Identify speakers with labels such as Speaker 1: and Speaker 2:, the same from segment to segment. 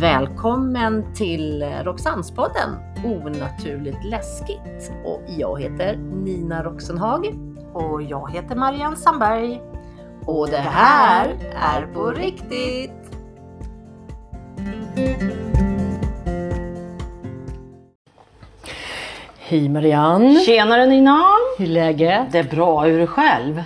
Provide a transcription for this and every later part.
Speaker 1: Välkommen till Roxannespodden Onaturligt läskigt. Och jag heter Nina Roxenhag.
Speaker 2: Och jag heter Marianne Sandberg.
Speaker 1: Och det här är på riktigt! Hej Marianne!
Speaker 2: Tjenare Nina!
Speaker 1: Hur är läget?
Speaker 2: Det är bra, hur är det själv?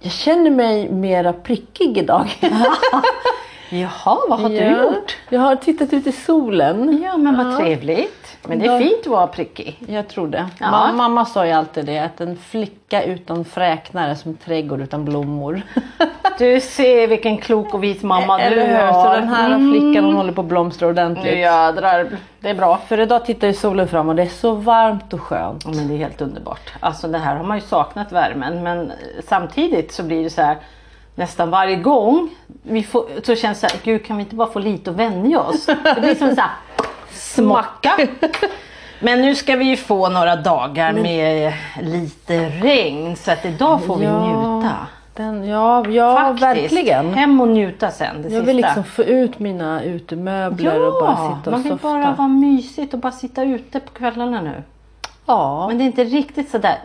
Speaker 1: Jag känner mig mera prickig idag.
Speaker 2: Jaha, vad har
Speaker 1: Ja.
Speaker 2: du gjort?
Speaker 1: Jag har tittat ut i solen.
Speaker 2: Ja, men vad trevligt. Men det är
Speaker 1: Dag-
Speaker 2: fint att vara prickig.
Speaker 1: Jag tror det.
Speaker 2: Ja.
Speaker 1: Ma- mamma sa ju alltid det, att en flicka utan fräknar är som trädgård utan blommor.
Speaker 2: Du ser vilken klok och vis mamma du
Speaker 1: Eller hur?
Speaker 2: har.
Speaker 1: Så den här
Speaker 2: Mm.
Speaker 1: flickan hon håller på att blomstra ordentligt.
Speaker 2: Nu jädrar, det är bra.
Speaker 1: För idag tittar ju solen fram och det är så varmt och skönt.
Speaker 2: Ja, men det är helt underbart. Alltså det här har man ju saknat värmen men samtidigt så blir det så här nästan varje gång vi får, så känns det så här, gud kan vi inte bara få lite och vänja oss? Det blir som så här smocka. Men nu ska vi ju få några dagar med lite regn så att idag får vi
Speaker 1: Ja,
Speaker 2: njuta.
Speaker 1: Den, ja, ja
Speaker 2: Faktiskt.
Speaker 1: verkligen.
Speaker 2: Hem och njuta sen, det
Speaker 1: Jag
Speaker 2: sista.
Speaker 1: vill liksom få ut mina utemöbler och bara sitta och
Speaker 2: man vill
Speaker 1: softa.
Speaker 2: bara vara mysigt och bara sitta ute på kvällarna nu.
Speaker 1: Ja,
Speaker 2: Men det är inte riktigt sådär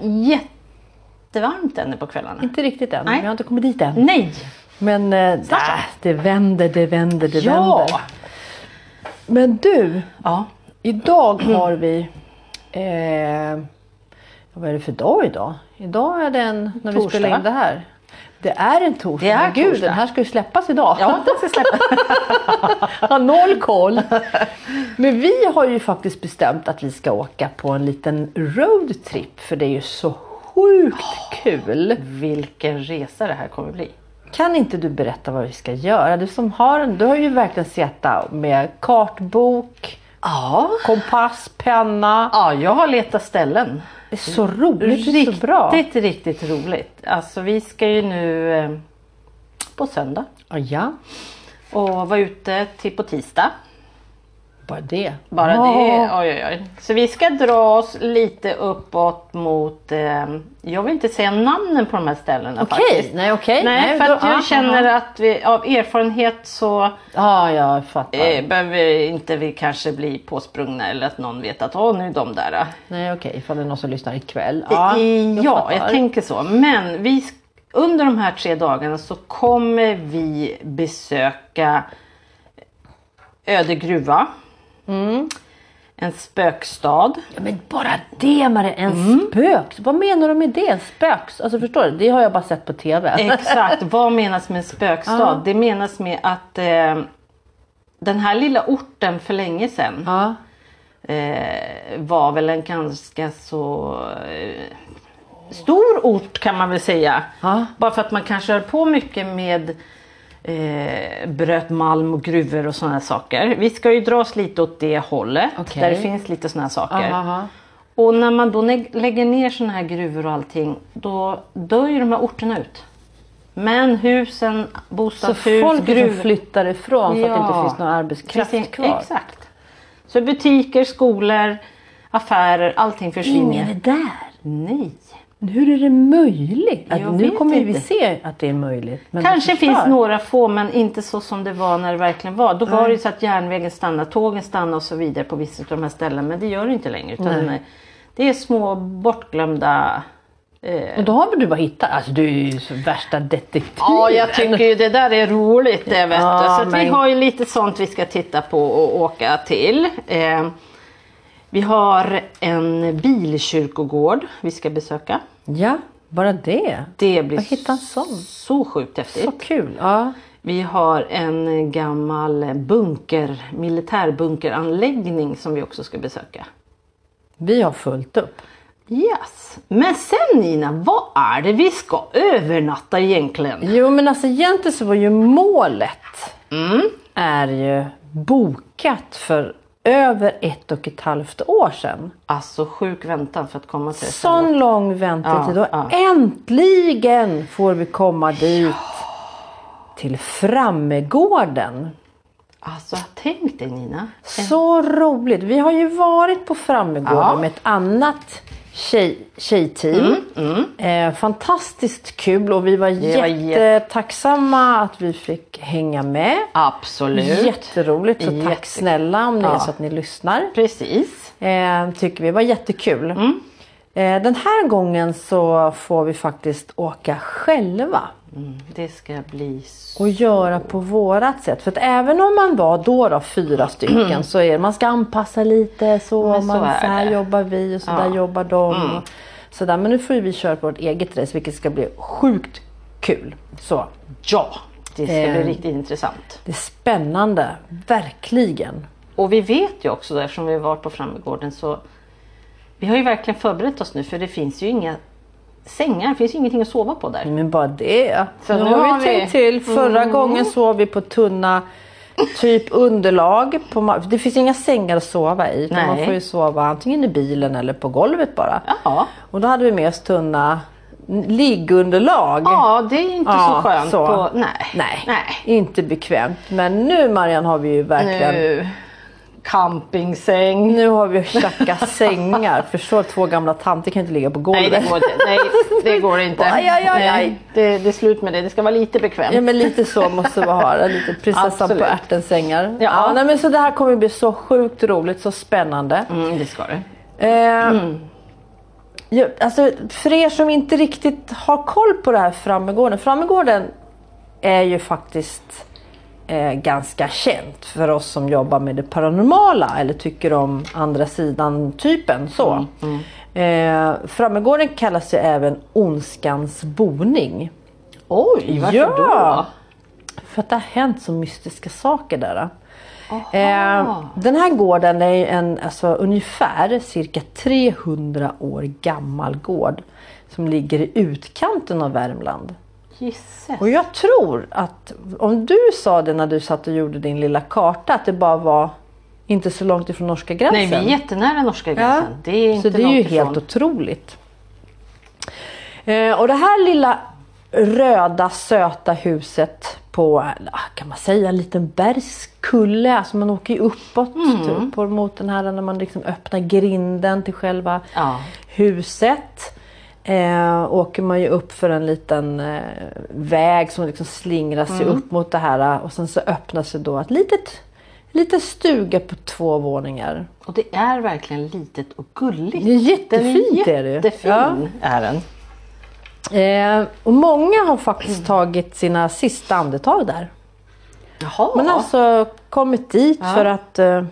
Speaker 2: jättevarmt ännu på kvällarna.
Speaker 1: inte riktigt än.
Speaker 2: Nej. Mm.
Speaker 1: Jag har inte kommit dit än.
Speaker 2: Nej!
Speaker 1: Men eh, äh, det vänder, det vänder, det
Speaker 2: ja!
Speaker 1: vänder. Men du,
Speaker 2: ja!
Speaker 1: idag har vi... Eh, vad är det för dag idag? Idag är det en... När vi
Speaker 2: Torsdag.
Speaker 1: spelar in det här. Det är en torsdag.
Speaker 2: Det är
Speaker 1: Men Gud,
Speaker 2: torsdag.
Speaker 1: den här ska ju släppas idag.
Speaker 2: Ja, den ska släppa.
Speaker 1: har noll koll. Men vi har ju faktiskt bestämt att vi ska åka på en liten roadtrip för det är ju så sjukt kul.
Speaker 2: Vilken resa det här kommer bli.
Speaker 1: Kan inte du berätta vad vi ska göra? Du som har en, du har ju verkligen suttit med kartbok,
Speaker 2: Ja.
Speaker 1: kompass, penna.
Speaker 2: ja, jag har letat ställen.
Speaker 1: Det är så roligt, det är så bra.
Speaker 2: Riktigt, riktigt roligt. Alltså vi ska ju nu eh, på söndag
Speaker 1: Ja, ja,
Speaker 2: och vara ute till på tisdag.
Speaker 1: bara det.
Speaker 2: Bara
Speaker 1: Ja.
Speaker 2: det, oj, oj, oj. Så vi ska dra oss lite uppåt mot, eh, jag vill inte säga namnen på de här ställena
Speaker 1: Okej,
Speaker 2: faktiskt.
Speaker 1: nej okej.
Speaker 2: Nej, för
Speaker 1: då-
Speaker 2: att jag
Speaker 1: ah,
Speaker 2: känner
Speaker 1: ah,
Speaker 2: att vi, av erfarenhet så
Speaker 1: ah. Ja, jag fattar.
Speaker 2: eh, behöver inte vi kanske bli påsprungna eller att någon vet att åh nu är de där.
Speaker 1: Nej okej, ifall det är någon som lyssnar ikväll.
Speaker 2: Ja, ja
Speaker 1: fattar.
Speaker 2: jag tänker så. Men vi, sk- under de här tre dagarna så kommer vi besöka Öde gruva. En spökstad.
Speaker 1: Ja, Men bara det med det, en
Speaker 2: Mm.
Speaker 1: spöks. Vad menar de med det? En spöks? Alltså förstår du? Det har jag bara sett på TV.
Speaker 2: Eh, Exakt, vad menas med en spökstad? Det menas med att eh, den här lilla orten för länge sedan
Speaker 1: Ja.
Speaker 2: eh, var väl en ganska så eh, stor ort kan man väl säga.
Speaker 1: Ja.
Speaker 2: Bara för att man kanske höll på mycket med eh, bröt malm och gruvor och sådana saker. Vi ska ju dra oss lite åt det hållet
Speaker 1: Okej.
Speaker 2: där det finns lite sådana saker.
Speaker 1: Aha.
Speaker 2: Och när man då neg- lägger ner sådana här gruvor och allting då dör ju de här orterna ut. Men husen,
Speaker 1: Så
Speaker 2: bostadshus,
Speaker 1: folk som
Speaker 2: gruvor.
Speaker 1: flyttar ifrån för att det
Speaker 2: Ja.
Speaker 1: inte finns någon arbetskraft
Speaker 2: Precis,
Speaker 1: kvar.
Speaker 2: Exakt. Så butiker, skolor, affärer, allting försvinner.
Speaker 1: Ingen är där.
Speaker 2: Nej.
Speaker 1: Men Hur är det möjligt? Att
Speaker 2: Jag
Speaker 1: nu
Speaker 2: vet
Speaker 1: kommer vi
Speaker 2: inte.
Speaker 1: se att det är möjligt. men det
Speaker 2: Kanske
Speaker 1: förstör.
Speaker 2: finns några få men inte så som det var när det verkligen var. Då var det ju så att järnvägen stannade, tågen stannade och så vidare på vissa av de här ställena. Men det gör det inte längre. Utan
Speaker 1: Nej.
Speaker 2: den är- det är små bortglömda...
Speaker 1: Och då har väl du bara hittat. Alltså du är ju så värsta detektiven.
Speaker 2: ju det där är roligt det vet
Speaker 1: Ja,
Speaker 2: Så att vi
Speaker 1: men-
Speaker 2: har ju lite sånt vi ska titta på och åka till. Eh, Vi har en bilkyrkogård vi ska besöka.
Speaker 1: Ja, bara det.
Speaker 2: Det blir
Speaker 1: Jag hittade en sån.
Speaker 2: så sjukt häftigt.
Speaker 1: Så kul. Ja.
Speaker 2: Vi har en gammal bunker, militärbunkeranläggning som vi också ska besöka.
Speaker 1: Vi har fullt upp.
Speaker 2: Yes. Men sen Nina, vad är det vi ska övernatta egentligen?
Speaker 1: Jo men alltså egentligen så var ju målet
Speaker 2: Mm.
Speaker 1: är ju bokat för över ett och ett halvt år sedan.
Speaker 2: Alltså sjuk väntan för att komma till det stället.
Speaker 1: Sån lång väntetid
Speaker 2: Ja,
Speaker 1: och äntligen får vi komma dit till Frammegården.
Speaker 2: Alltså tänk dig Nina.
Speaker 1: Så roligt! Vi har ju varit på Frammegården
Speaker 2: Ja.
Speaker 1: med ett annat tjej, tjejteam. Eh, fantastiskt kul och vi var
Speaker 2: Mm, var jätte-
Speaker 1: jättetacksamma att vi fick hänga med.
Speaker 2: Absolut.
Speaker 1: Jätteroligt, så tack
Speaker 2: Jättekul.
Speaker 1: snälla om ni är
Speaker 2: Ja.
Speaker 1: så att ni lyssnar.
Speaker 2: Precis.
Speaker 1: Eh, tycker vi var jättekul.
Speaker 2: Mm.
Speaker 1: Eh, den här gången så får vi faktiskt åka själva
Speaker 2: Det ska bli så.
Speaker 1: och göra på vårat sätt. För att även om man var då, då fyra stycken så är det, man ska anpassa lite så.
Speaker 2: Men så
Speaker 1: man,
Speaker 2: är
Speaker 1: så här
Speaker 2: det. Mm.
Speaker 1: jobbar vi och så där jobbar de. Och så där. Men nu får ju vi köra på vårt eget race vilket ska bli sjukt kul. Så.
Speaker 2: Ja, det ska
Speaker 1: Eh.
Speaker 2: bli riktigt intressant.
Speaker 1: Det är spännande, verkligen.
Speaker 2: Och vi vet ju också, då, eftersom vi har varit på Frammegården, så vi har ju verkligen förberett oss nu för det finns ju inga sängar, det finns ju ingenting att sova på där.
Speaker 1: Men bara det.
Speaker 2: Så
Speaker 1: nu
Speaker 2: nu
Speaker 1: har
Speaker 2: har
Speaker 1: vi
Speaker 2: vi- Mm.
Speaker 1: tänkt till. Förra gången sov vi på tunna typ underlag. På ma- det finns inga sängar att sova i. utan Man
Speaker 2: Nej.
Speaker 1: får ju sova antingen i bilen eller på golvet bara.
Speaker 2: Ja,
Speaker 1: Och då hade vi med oss tunna n- liggunderlag.
Speaker 2: ja det är ju inte
Speaker 1: Ja,
Speaker 2: så skönt.
Speaker 1: så.
Speaker 2: På, nej.
Speaker 1: Nej,
Speaker 2: nej.
Speaker 1: inte bekvämt. Men nu Marianne har vi ju verkligen... Nu,
Speaker 2: Nu, campingsäng.
Speaker 1: har vi tjackat sängar. Förstår två gamla tanter kan ju inte ligga på golvet.
Speaker 2: Nej det går inte. Nej, det går inte.
Speaker 1: Aj, aj, aj,
Speaker 2: Nej,
Speaker 1: aj.
Speaker 2: Det, det är slut med det. Det ska vara lite bekvämt.
Speaker 1: Ja men lite så måste vi ha det. Lite prinsessan på
Speaker 2: Absolut.
Speaker 1: ärtens sängar. Ja.
Speaker 2: Ja.
Speaker 1: nej, men så det här kommer bli så sjukt roligt, så spännande.
Speaker 2: Mm, det ska det.
Speaker 1: Eh, ja, alltså, för er som inte riktigt har koll på det här Frammegården. Frammegården är ju faktiskt eh, ganska känt för oss som jobbar med det paranormala eller tycker om andra sidan typen. Så.
Speaker 2: Mm,
Speaker 1: Eh, Frammegården kallas ju även Ondskans boning.
Speaker 2: Oj, varför
Speaker 1: Ja.
Speaker 2: då?
Speaker 1: För att det har hänt så mystiska saker där. Eh, den här gården är ju en alltså, ungefär cirka 300 år gammal gård som ligger i utkanten av Värmland.
Speaker 2: Gisses.
Speaker 1: Och jag tror att om du sa det när du satt och gjorde din lilla karta att det bara var inte så långt ifrån norska
Speaker 2: Nej,
Speaker 1: gränsen.
Speaker 2: vi är jättenära norska gränsen. Det är inte
Speaker 1: liksom. så det är ju
Speaker 2: långt ifrån.
Speaker 1: helt otroligt. Eh, och det här lilla röda söta huset på, ah, kan man säga, en liten bergskulle. Alltså man åker ju uppåt
Speaker 2: Mm.
Speaker 1: typ, på- mot den här när man liksom öppnar grinden till själva
Speaker 2: Ja.
Speaker 1: huset. Eh, åker man ju upp för en liten eh, väg som liksom slingrar sig
Speaker 2: Mm.
Speaker 1: upp mot det här eh, och sen så öppnas det då ett litet, litet stuga på två våningar.
Speaker 2: Och det är verkligen litet och gulligt.
Speaker 1: Det är jättefint
Speaker 2: den
Speaker 1: är det ju.
Speaker 2: Jättefin
Speaker 1: Ja.
Speaker 2: är den.
Speaker 1: Eh, och många har faktiskt tagit sina sista andetag där.
Speaker 2: Jaha.
Speaker 1: Man har alltså kommit dit för att eh,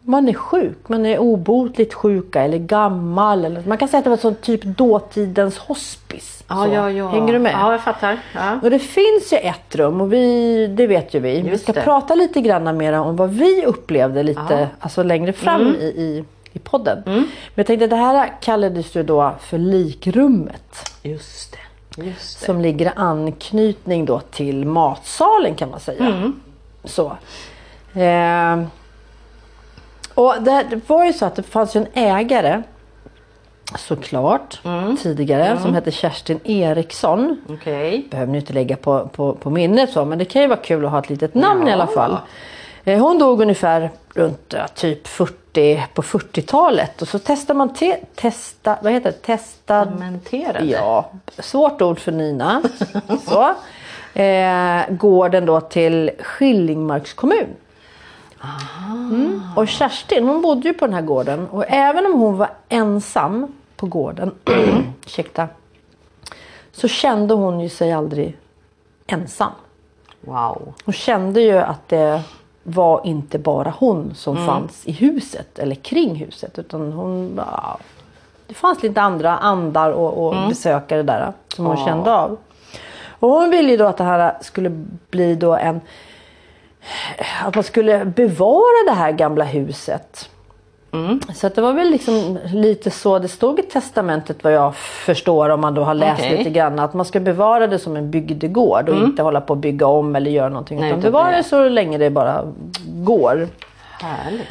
Speaker 1: man är sjuk. Man är obotligt sjuka eller gammal. Eller, man kan säga att det var sån typ dåtidens hospice.
Speaker 2: ja,
Speaker 1: så.
Speaker 2: ja, ja.
Speaker 1: Hänger du med?
Speaker 2: Ja, jag fattar. Ja.
Speaker 1: Och det finns ju ett rum och vi, det vet ju vi. vi
Speaker 2: Just
Speaker 1: ska
Speaker 2: det.
Speaker 1: prata lite grann mer om vad vi upplevde lite alltså längre fram
Speaker 2: Mm.
Speaker 1: i, i, i podden. Men jag tänkte det här kallades ju då för likrummet.
Speaker 2: Just det. Just det.
Speaker 1: Som ligger i anknytning då till matsalen kan man säga.
Speaker 2: Mm.
Speaker 1: Så. Eh, och det, här- det var ju så att det fanns ju en ägare såklart
Speaker 2: Mm.
Speaker 1: tidigare som hette Kerstin Eriksson.
Speaker 2: Okej.
Speaker 1: Behöver ni inte lägga på, på, på minnet så men det kan ju vara kul att ha ett litet namn i
Speaker 2: Ja.
Speaker 1: alla fall. Eh, hon dog ungefär runt ja, typ 40 på 40-talet och så testar man te, testa, vad heter det? Testad
Speaker 2: Fermenterade.
Speaker 1: Ja, svårt ord för Nina. Så. Eh, gården då till Skillingmarks kommun. Mm. Och Kerstin hon bodde ju på den här gården och även om hon var ensam på gården ursäkta, så kände hon ju sig aldrig ensam.
Speaker 2: Wow.
Speaker 1: Hon kände ju att det var inte bara hon som fanns i huset eller kring huset utan hon ja, Det fanns lite andra andar och,
Speaker 2: Mm.
Speaker 1: och besökare där som hon kände av. Och hon ville ju då att det här skulle bli då en att man skulle bevara det här gamla huset.
Speaker 2: Mm.
Speaker 1: Så att det var väl liksom lite så det stod i testamentet vad jag förstår om man då har läst
Speaker 2: Okej. Mm.
Speaker 1: lite grann. Att man ska bevara det som en bygdegård och inte hålla på att bygga om eller göra någonting.
Speaker 2: Nej,
Speaker 1: utan
Speaker 2: utan
Speaker 1: bevara
Speaker 2: det-
Speaker 1: det så länge det bara går.
Speaker 2: Härligt.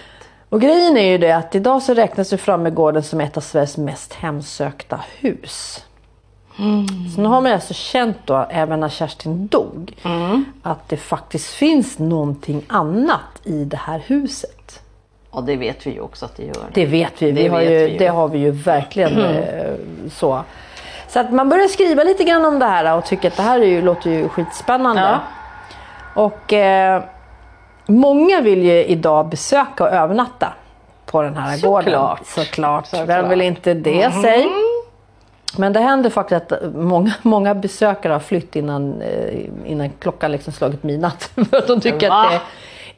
Speaker 1: Och grejen är ju det att idag så räknas ju Frammegården som ett av Sveriges mest hemsökta hus. Så nu har man alltså känt då, även när Kerstin dog, att det faktiskt finns någonting annat i det här huset.
Speaker 2: Ja, det vet vi ju också att det gör.
Speaker 1: Det vet vi. vi,
Speaker 2: Det
Speaker 1: har,
Speaker 2: vet
Speaker 1: ju,
Speaker 2: vi ju. Mm.
Speaker 1: Det har vi ju verkligen eh, så. Så att man börjar skriva lite grann om det här och tycker att det här är ju, låter ju skitspännande.
Speaker 2: Ja.
Speaker 1: Och eh, många vill ju idag besöka och övernatta på den här
Speaker 2: Såklart.
Speaker 1: gården. Såklart. Vem
Speaker 2: Såklart. Mm.
Speaker 1: vill inte det säg? Men det händer faktiskt att eh, många, många besökare har flytt innan, eh, innan klockan liksom slagit midnatt. För att de tycker
Speaker 2: Va?
Speaker 1: att det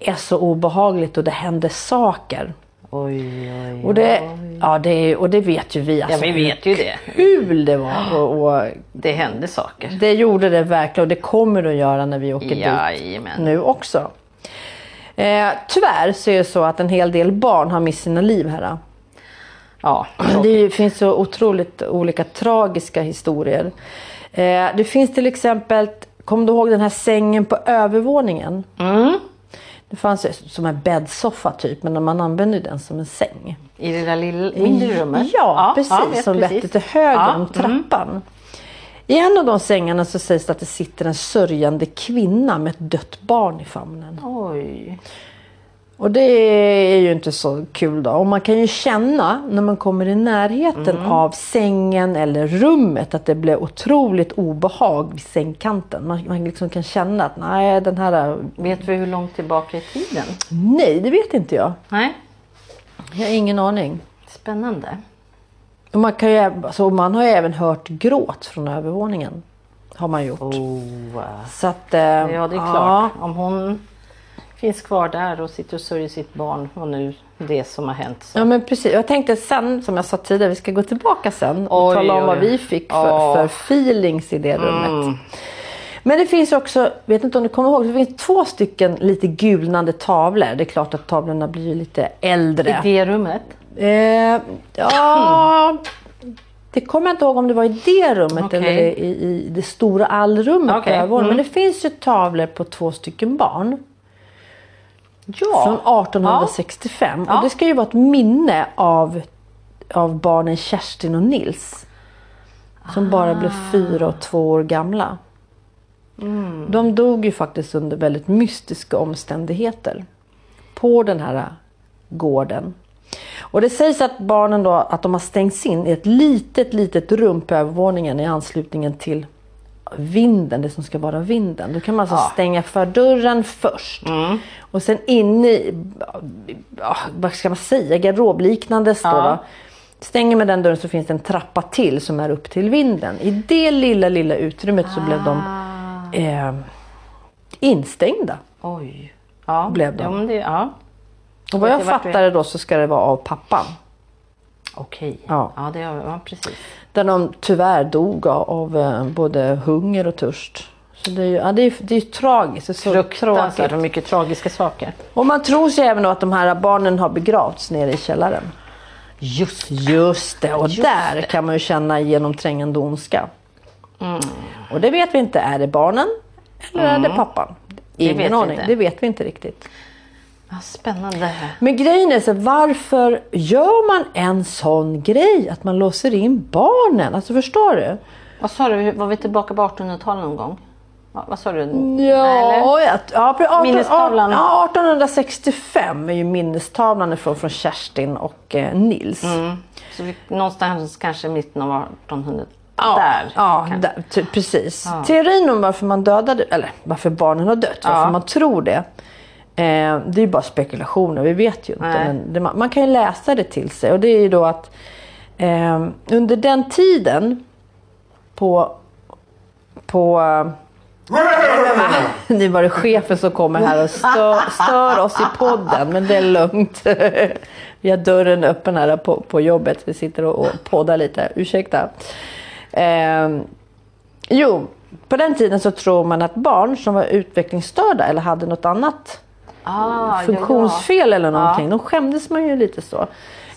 Speaker 1: är så obehagligt och det händer saker.
Speaker 2: Oj, oj,
Speaker 1: Och det, ja, det är, och det vet ju vi.
Speaker 2: Ja,
Speaker 1: Alltså,
Speaker 2: vi vet ju det.
Speaker 1: Kul det var! Och, och
Speaker 2: Det händer saker.
Speaker 1: det gjorde det verkligen och det kommer det att göra när vi åker dit
Speaker 2: Jajamän.
Speaker 1: nu också. Eh, tyvärr så är det så att en hel del barn har mist sina liv här.
Speaker 2: Ja.
Speaker 1: Det är ju- finns så otroligt olika tragiska historier. Eh, det finns till exempel, kommer du ihåg den här sängen på övervåningen?
Speaker 2: Mm.
Speaker 1: Det fanns ju som en bäddsoffa typ, men man använde ju den som en säng.
Speaker 2: I det där lilla, mindre rummet.
Speaker 1: Ja, precis.
Speaker 2: vet
Speaker 1: som
Speaker 2: precis.
Speaker 1: vetter till höger
Speaker 2: Ja, mm.
Speaker 1: om trappan. I en av de sängarna så sägs det att det sitter en sörjande kvinna med ett dött barn i famnen.
Speaker 2: Oj.
Speaker 1: Och det är ju inte så kul då. Och man kan ju känna när man kommer i närheten
Speaker 2: Mm.
Speaker 1: av sängen eller rummet att det blir otroligt obehag vid sängkanten. Man, man liksom kan känna att nej, den här...
Speaker 2: Vet vi hur långt tillbaka i tiden?
Speaker 1: Nej, det vet inte jag.
Speaker 2: Nej.
Speaker 1: Jag har ingen aning.
Speaker 2: Spännande.
Speaker 1: Och man, kan ju, även- alltså, man har ju även hört gråt från övervåningen. Har man gjort.
Speaker 2: Oh, wow.
Speaker 1: Så att, eh,
Speaker 2: Ja, det är klart. Om hon finns kvar där och sitter och sörjer sitt barn och nu det som har hänt. Så.
Speaker 1: Ja men precis. Jag tänkte sen, som jag sa tidigare, vi ska gå tillbaka sen och
Speaker 2: Oj,
Speaker 1: tala om
Speaker 2: oj,
Speaker 1: vad
Speaker 2: oj.
Speaker 1: vi fick för,
Speaker 2: Ja. Mm.
Speaker 1: för feelings i det rummet. Men det finns också, vet inte om du kommer ihåg, det finns två stycken lite gulnande tavlor. Det är klart att tavlorna blir ju lite
Speaker 2: I
Speaker 1: äldre.
Speaker 2: det rummet?
Speaker 1: Eh, ja, det kommer jag inte ihåg om det var i det rummet
Speaker 2: Okej.
Speaker 1: eller i, i det stora allrummet
Speaker 2: Okej, Mm.
Speaker 1: okay. övervåningen. Men det finns ju tavlor på två stycken barn.
Speaker 2: Ja.
Speaker 1: Från 1865.
Speaker 2: Ja.
Speaker 1: Och det ska ju vara ett minne av, av barnen Kerstin och Nils. Som bara blev
Speaker 2: Ah.
Speaker 1: fyra och två år gamla. De dog ju faktiskt under väldigt mystiska omständigheter. På den här gården. Och det sägs att barnen då att de har stängts in i ett litet litet rum på övervåningen i anslutningen till vinden, det som ska vara vinden. Då kan man alltså stänga för dörren först.
Speaker 2: Mm.
Speaker 1: Och sen in i, ja, vad ska man säga, garderobliknande står
Speaker 2: Ja.
Speaker 1: va? Stänger man den dörren så finns det en trappa till som är upp till vinden. I det lilla lilla utrymmet så blev de
Speaker 2: Ah.
Speaker 1: eh, instängda.
Speaker 2: Oj. Ja.
Speaker 1: Blev de.
Speaker 2: Ja, men det, ja.
Speaker 1: Och vad
Speaker 2: Vet
Speaker 1: jag
Speaker 2: du vart vi-
Speaker 1: fattade då så ska det vara av pappan.
Speaker 2: Okej.
Speaker 1: Ja.
Speaker 2: Ja, det har ja, precis.
Speaker 1: Där de tyvärr dog av, av eh, både hunger och törst. Så det är ju, ja, det är, det är ju tragiskt. Det är så
Speaker 2: Fruktansvärt
Speaker 1: tråkigt.
Speaker 2: och mycket tragiska saker.
Speaker 1: Och man tror sig även då att de här barnen har begravts nere i källaren.
Speaker 2: Just
Speaker 1: Just det, och
Speaker 2: Just
Speaker 1: där kan man ju känna genomträngande ondska.
Speaker 2: Mm.
Speaker 1: Och det vet vi inte, är det barnen eller är det pappan? Ingen
Speaker 2: vet vi
Speaker 1: aning,
Speaker 2: inte.
Speaker 1: det vet vi inte riktigt.
Speaker 2: Vad spännande.
Speaker 1: Men grejen är så varför gör man en sån grej? Att man låser in barnen? Alltså förstår du?
Speaker 2: Vad sa du, var vi tillbaka på 1800-talet någon gång? Va, vad sa du?
Speaker 1: Ja,
Speaker 2: Eller?
Speaker 1: ja, ja, pre- arton-
Speaker 2: Minnestavlan.
Speaker 1: Ja, 1865 är ju minnestavlan ifrån från Kerstin och eh, Nils.
Speaker 2: Mm. Så vi, någonstans kanske i mitten av 1800-talet.
Speaker 1: Ja,
Speaker 2: där.
Speaker 1: ja
Speaker 2: kanske.
Speaker 1: där, ty- precis. Teorin om varför man dödade, eller varför barnen har dött, varför man tror det. Eh, det är ju bara spekulationer, vi vet ju inte.
Speaker 2: Nej.
Speaker 1: Men det, man, man kan ju läsa det till sig och det är ju då att eh, under den tiden på... på nu var det chefen som kommer här och stör, stör oss i podden, men det är lugnt. Vi har dörren öppen här på, på jobbet. Vi sitter och, och poddar lite. Ursäkta. Ehm, jo, på den tiden så tror man att barn som var utvecklingsstörda eller hade något annat
Speaker 2: Ah,
Speaker 1: funktionsfel eller någonting, de skämdes man ju lite så.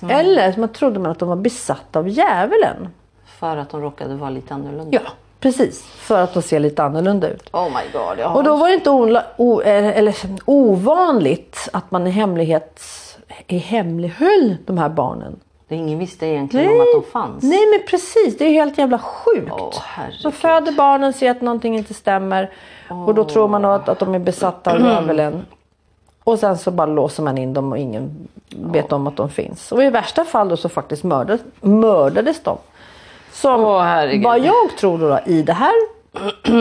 Speaker 1: Eller så man trodde man att de var besatta av djävulen.
Speaker 2: Ja, för att de råkade vara lite annorlunda.
Speaker 1: Ja, precis. För att de ser lite annorlunda ut.
Speaker 2: Oh my god. Ja.
Speaker 1: Och då var det inte onla, o, eller, eller, ovanligt att man i hemlighet i hemlighöll de här barnen.
Speaker 2: Det ingen visste egentligen om att de fanns.
Speaker 1: Nej men precis, det är ju helt jävla sjukt.
Speaker 2: Åh,
Speaker 1: de
Speaker 2: herregud.
Speaker 1: föder barnen, ser att någonting inte stämmer och då tror man att, att de är besatta av djävulen. Och sen så bara låser man in dem och ingen vet om att de finns. Och i värsta fall då så faktiskt mördades, mördades de. Som
Speaker 2: Åh, herregud.
Speaker 1: vad jag tror då, då i det här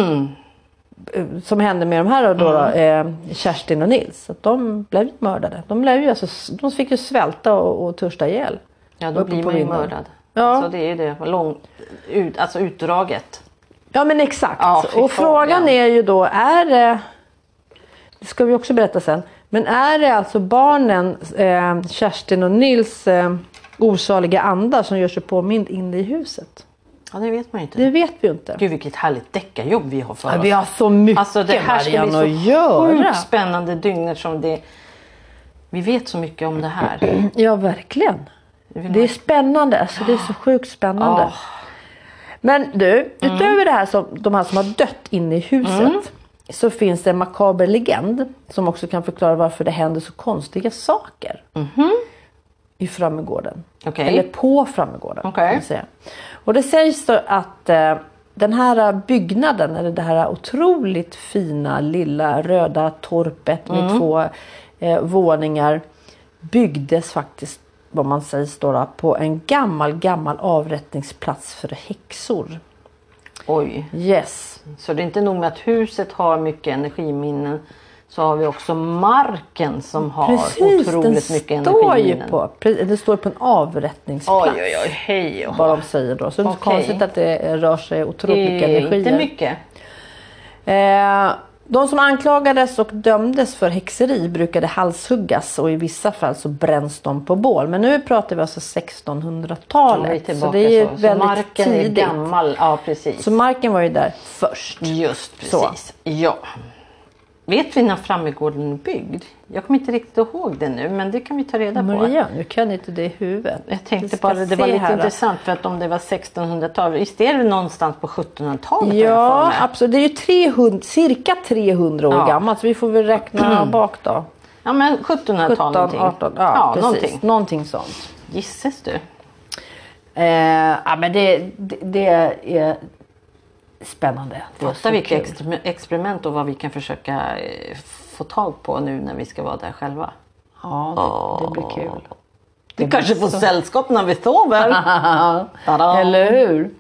Speaker 1: eh, som hände med de här då, då
Speaker 2: Mm.
Speaker 1: eh, Kerstin och Nils. Att de blev mördade. De, blev ju alltså, de fick ju svälta och, och törsta ihjäl.
Speaker 2: Ja, då
Speaker 1: Uppe
Speaker 2: blir
Speaker 1: på
Speaker 2: man ju
Speaker 1: vinden.
Speaker 2: mördad.
Speaker 1: Ja.
Speaker 2: Alltså, det är ju det. Lång, ut, alltså utdraget.
Speaker 1: Ja men exakt.
Speaker 2: Ja, fy
Speaker 1: och
Speaker 2: fan,
Speaker 1: frågan
Speaker 2: ja.
Speaker 1: är ju då, är det... Det ska vi också berätta sen. Men är det alltså barnen eh, Kerstin och Nils eh, osaliga andar som gör sig påmind inne i huset?
Speaker 2: Ja, det vet man ju inte.
Speaker 1: Det vet vi ju inte.
Speaker 2: Gud vilket härligt deckarjobb vi har för
Speaker 1: Ja,
Speaker 2: oss.
Speaker 1: vi har så mycket
Speaker 2: Alltså det här ska bli
Speaker 1: Marianne
Speaker 2: så
Speaker 1: att göra.
Speaker 2: sjukt spännande dygnet som det Vi vet så mycket om det här.
Speaker 1: Ja verkligen. Det är spännande. Alltså, det är så sjukt spännande.
Speaker 2: Ja.
Speaker 1: Men du, utöver det här som, de här som har dött inne i huset. Så finns det en makaber legend som också kan förklara varför det händer så konstiga saker. I Frammegården.
Speaker 2: Okej.
Speaker 1: Eller på Frammegården.
Speaker 2: Okej.
Speaker 1: kan man säga. Och det sägs då att eh, den här byggnaden, eller det här otroligt fina lilla röda torpet med
Speaker 2: Mm.
Speaker 1: två eh, våningar. Byggdes faktiskt, vad man sägs då, då, på en gammal, gammal avrättningsplats för häxor.
Speaker 2: Oj.
Speaker 1: Yes.
Speaker 2: Så det är inte nog med att huset har mycket energiminnen. Så har vi också marken som har
Speaker 1: Precis, den
Speaker 2: otroligt mycket
Speaker 1: står ju
Speaker 2: energiminnen.
Speaker 1: på, pre- det står på en avrättningsplats.
Speaker 2: Oj oj oj. Hej och hå.
Speaker 1: Vad de säger då. Så det är inte
Speaker 2: Okej.
Speaker 1: konstigt att det rör sig otroligt mycket
Speaker 2: Det är
Speaker 1: energier.
Speaker 2: inte mycket.
Speaker 1: Eh, de som anklagades och dömdes för häxeri brukade halshuggas och i vissa fall så bränns de på bål. Men nu pratar vi alltså
Speaker 2: Om vi är
Speaker 1: 1600-talet. så
Speaker 2: tillbaka
Speaker 1: det är ju
Speaker 2: så. så
Speaker 1: väldigt
Speaker 2: marken
Speaker 1: tidigt.
Speaker 2: är gammal. Ja precis.
Speaker 1: Så marken var ju där först.
Speaker 2: Just
Speaker 1: Så.
Speaker 2: precis. Ja. Vet vi när Frammegården är byggd? Jag kommer inte riktigt ihåg det nu men det kan vi ta reda på.
Speaker 1: Maria, nu kan inte det i huvudet.
Speaker 2: Mm. Jag
Speaker 1: Vi
Speaker 2: tänkte
Speaker 1: ska
Speaker 2: bara det var
Speaker 1: se
Speaker 2: lite
Speaker 1: här då.
Speaker 2: intressant för att om det var 1600-talet, visst är det någonstans på 1700-talet?
Speaker 1: Ja,
Speaker 2: har jag för mig?
Speaker 1: absolut. Det är ju 300, cirka 300 år
Speaker 2: Ja.
Speaker 1: gammalt så vi får väl räkna bak då.
Speaker 2: ja men 1700-tal
Speaker 1: 17,
Speaker 2: någonting.
Speaker 1: 18, ja,
Speaker 2: ja
Speaker 1: precis.
Speaker 2: någonting.
Speaker 1: någonting sånt.
Speaker 2: Gisses du?
Speaker 1: Eh, ja, men det, det, det är spännande. Det är
Speaker 2: Fatta
Speaker 1: så
Speaker 2: vilka
Speaker 1: kul.
Speaker 2: exper- experiment och vad vi kan försöka eh, få tag på nu när vi ska vara där själva.
Speaker 1: Ja, det, det blir kul.
Speaker 2: Vi kanske får sällskap när vi sover. Tada.
Speaker 1: Eller hur?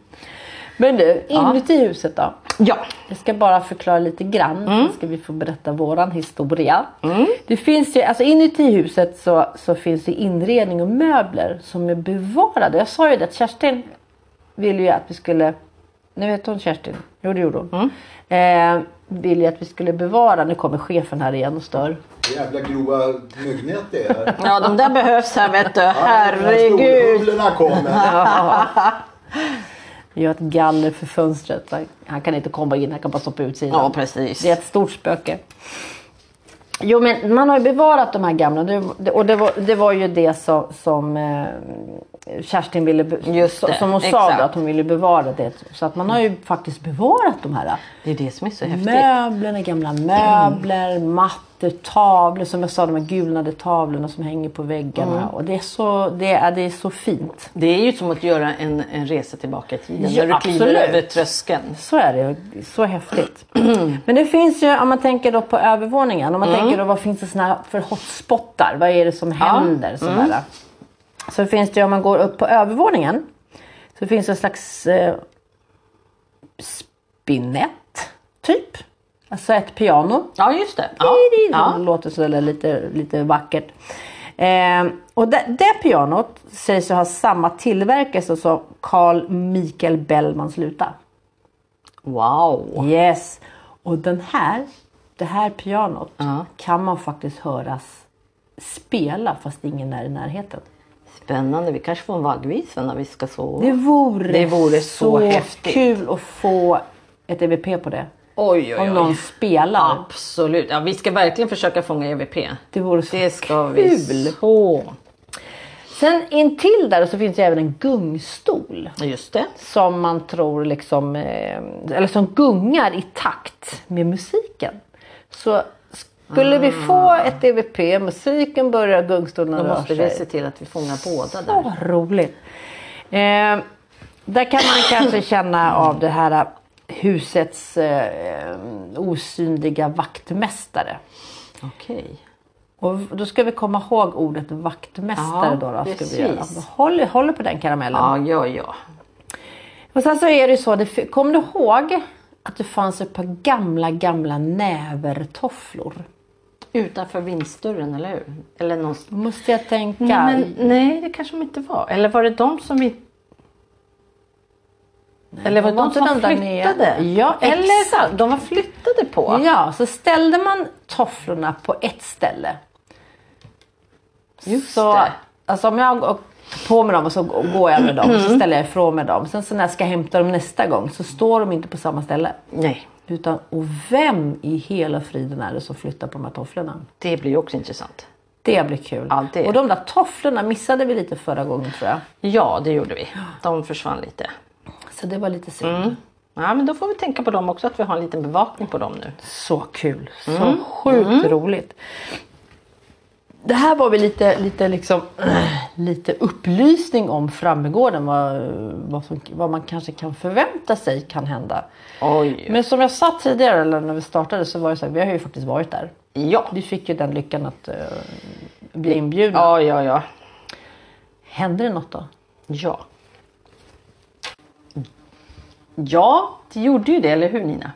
Speaker 1: Men du, inuti huset då?
Speaker 2: Ja,
Speaker 1: Jag ska bara förklara lite grann. Sen ska vi få berätta våran historia. Det finns ju, alltså inuti huset så, så finns det inredning och möbler som är bevarade. Jag sa ju det att Kerstin ville ju att vi skulle, nu vet hon Kerstin, jo det gjorde hon. Eh, ville ju att vi skulle bevara, nu kommer chefen här igen och stör.
Speaker 3: Jävla grova myggnät det är.
Speaker 2: ja de där behövs här vet du.
Speaker 3: Ja,
Speaker 2: Herregud.
Speaker 3: Storhuvudena kommer.
Speaker 1: Jag gör ett galler för fönstret. Han- Han kan inte komma in, han kan bara stoppa ut sidan.
Speaker 2: Ja, precis.
Speaker 1: Det är ett stort spöke. Jo men man har ju bevarat de här gamla Det- och det var, det var ju det som, som eh, Kerstin ville be-
Speaker 2: Just det,
Speaker 1: som hon sa
Speaker 2: exakt.
Speaker 1: då, att hon ville bevara det. Så att man har ju faktiskt bevarat de här eh,
Speaker 2: Det är det som är så häftigt.
Speaker 1: möblerna, gamla möbler, mattor, tavlor. Som jag sa de här gulnade tavlorna som hänger på väggarna.
Speaker 2: Mm.
Speaker 1: Och det är, så, det, är, det är så fint.
Speaker 2: Det är ju som att göra en, en resa tillbaka i tiden
Speaker 1: Ja,
Speaker 2: när du kliver
Speaker 1: absolut.
Speaker 2: över tröskeln.
Speaker 1: Så är det. Det är Så häftigt. Men det finns ju, om man tänker då på övervåningen. Om man tänker då vad finns det såna här för hotspottar? Vad är det som händer? Sådär. Så finns det ju, om man går upp på övervåningen. Så finns det en slags eh, spinett. Typ. Alltså ett piano.
Speaker 2: Ja, just det.
Speaker 1: Ja,
Speaker 2: Ja.
Speaker 1: det
Speaker 2: Ja.
Speaker 1: låter så där lite, lite vackert. Eh, och det, det pianot sägs ju ha samma tillverkare som Carl Michael Bellmans luta.
Speaker 2: Wow!
Speaker 1: Yes. Och den här, det här pianot
Speaker 2: Ja.
Speaker 1: kan man faktiskt höras spela fast ingen är i närheten.
Speaker 2: Spännande. Vi kanske får en vaggvisa när vi ska sova.
Speaker 1: Det vore,
Speaker 2: Det vore så häftigt.
Speaker 1: kul att få ett EVP på det.
Speaker 2: Oj,
Speaker 1: Om någon spelar.
Speaker 2: Absolut. Ja, vi ska verkligen försöka fånga EVP.
Speaker 1: Det vore så
Speaker 2: Det ska vi
Speaker 1: kul.
Speaker 2: så.
Speaker 1: Sen intill där så finns det även en gungstol.
Speaker 2: Just det.
Speaker 1: Som man tror liksom, eh, eller som gungar i takt med musiken. Så skulle vi få
Speaker 2: Ah.
Speaker 1: ett EVP, musiken börjar, gungstolen
Speaker 2: Då
Speaker 1: rör
Speaker 2: måste
Speaker 1: sig.
Speaker 2: vi se till att vi fångar båda där.
Speaker 1: Åh, roligt. Eh, där kan man kanske känna av det här husets eh, osynliga vaktmästare.
Speaker 2: Okej.
Speaker 1: Och då ska vi komma ihåg ordet vaktmästare.
Speaker 2: Ja,
Speaker 1: då, då, ska vi göra.
Speaker 2: precis.
Speaker 1: Håll, håll på den karamellen.
Speaker 2: Ja, ja, ja.
Speaker 1: Och sen så är det ju så, det, f- kom du ihåg att det fanns ett par gamla, gamla nävertofflor?
Speaker 2: Utanför vindsdörren, eller hur? Eller någonstans.
Speaker 1: Då måste jag tänka.
Speaker 2: Nej, men, nej, det kanske de inte var. Eller var det de som vi... eller var
Speaker 1: de
Speaker 2: det
Speaker 1: var
Speaker 2: de,
Speaker 1: inte
Speaker 2: som
Speaker 1: de där
Speaker 2: flyttade?
Speaker 1: nere. Ja,
Speaker 2: eller
Speaker 1: exakt.
Speaker 2: de var flyttade på.
Speaker 1: Ja, så ställde man tofflorna på ett ställe.
Speaker 2: Just
Speaker 1: så,
Speaker 2: det.
Speaker 1: Alltså om jag går på med dem och så går jag med dem och
Speaker 2: Mm.
Speaker 1: så ställer jag ifrån mig dem. Sen så när jag ska hämta dem nästa gång så står de inte på samma ställe.
Speaker 2: Nej,
Speaker 1: Utan, och vem i hela friden är det som flyttar på de här tofflorna?
Speaker 2: det blir ju också intressant.
Speaker 1: Det blir kul.
Speaker 2: Ja, det.
Speaker 1: Och de där tofflorna missade vi lite förra gången tror jag.
Speaker 2: Ja, det gjorde vi. De försvann lite.
Speaker 1: Så det var lite synd.
Speaker 2: Ja, men då får vi tänka på dem också, att vi har en liten bevakning på dem nu.
Speaker 1: Så kul. Så sjukt roligt. Det här var väl lite, lite, liksom, lite upplysning om Frammegården. Vad, vad, som, vad man kanske kan förvänta sig kan hända.
Speaker 2: Oj.
Speaker 1: Men som jag sa tidigare eller när vi startade så var det så här, vi har ju faktiskt varit där.
Speaker 2: Ja.
Speaker 1: Vi fick ju den lyckan att eh, bli inbjudna.
Speaker 2: Ja, ja, ja.
Speaker 1: Hände det något då?
Speaker 2: Ja. Ja, det gjorde ju det, eller hur Nina?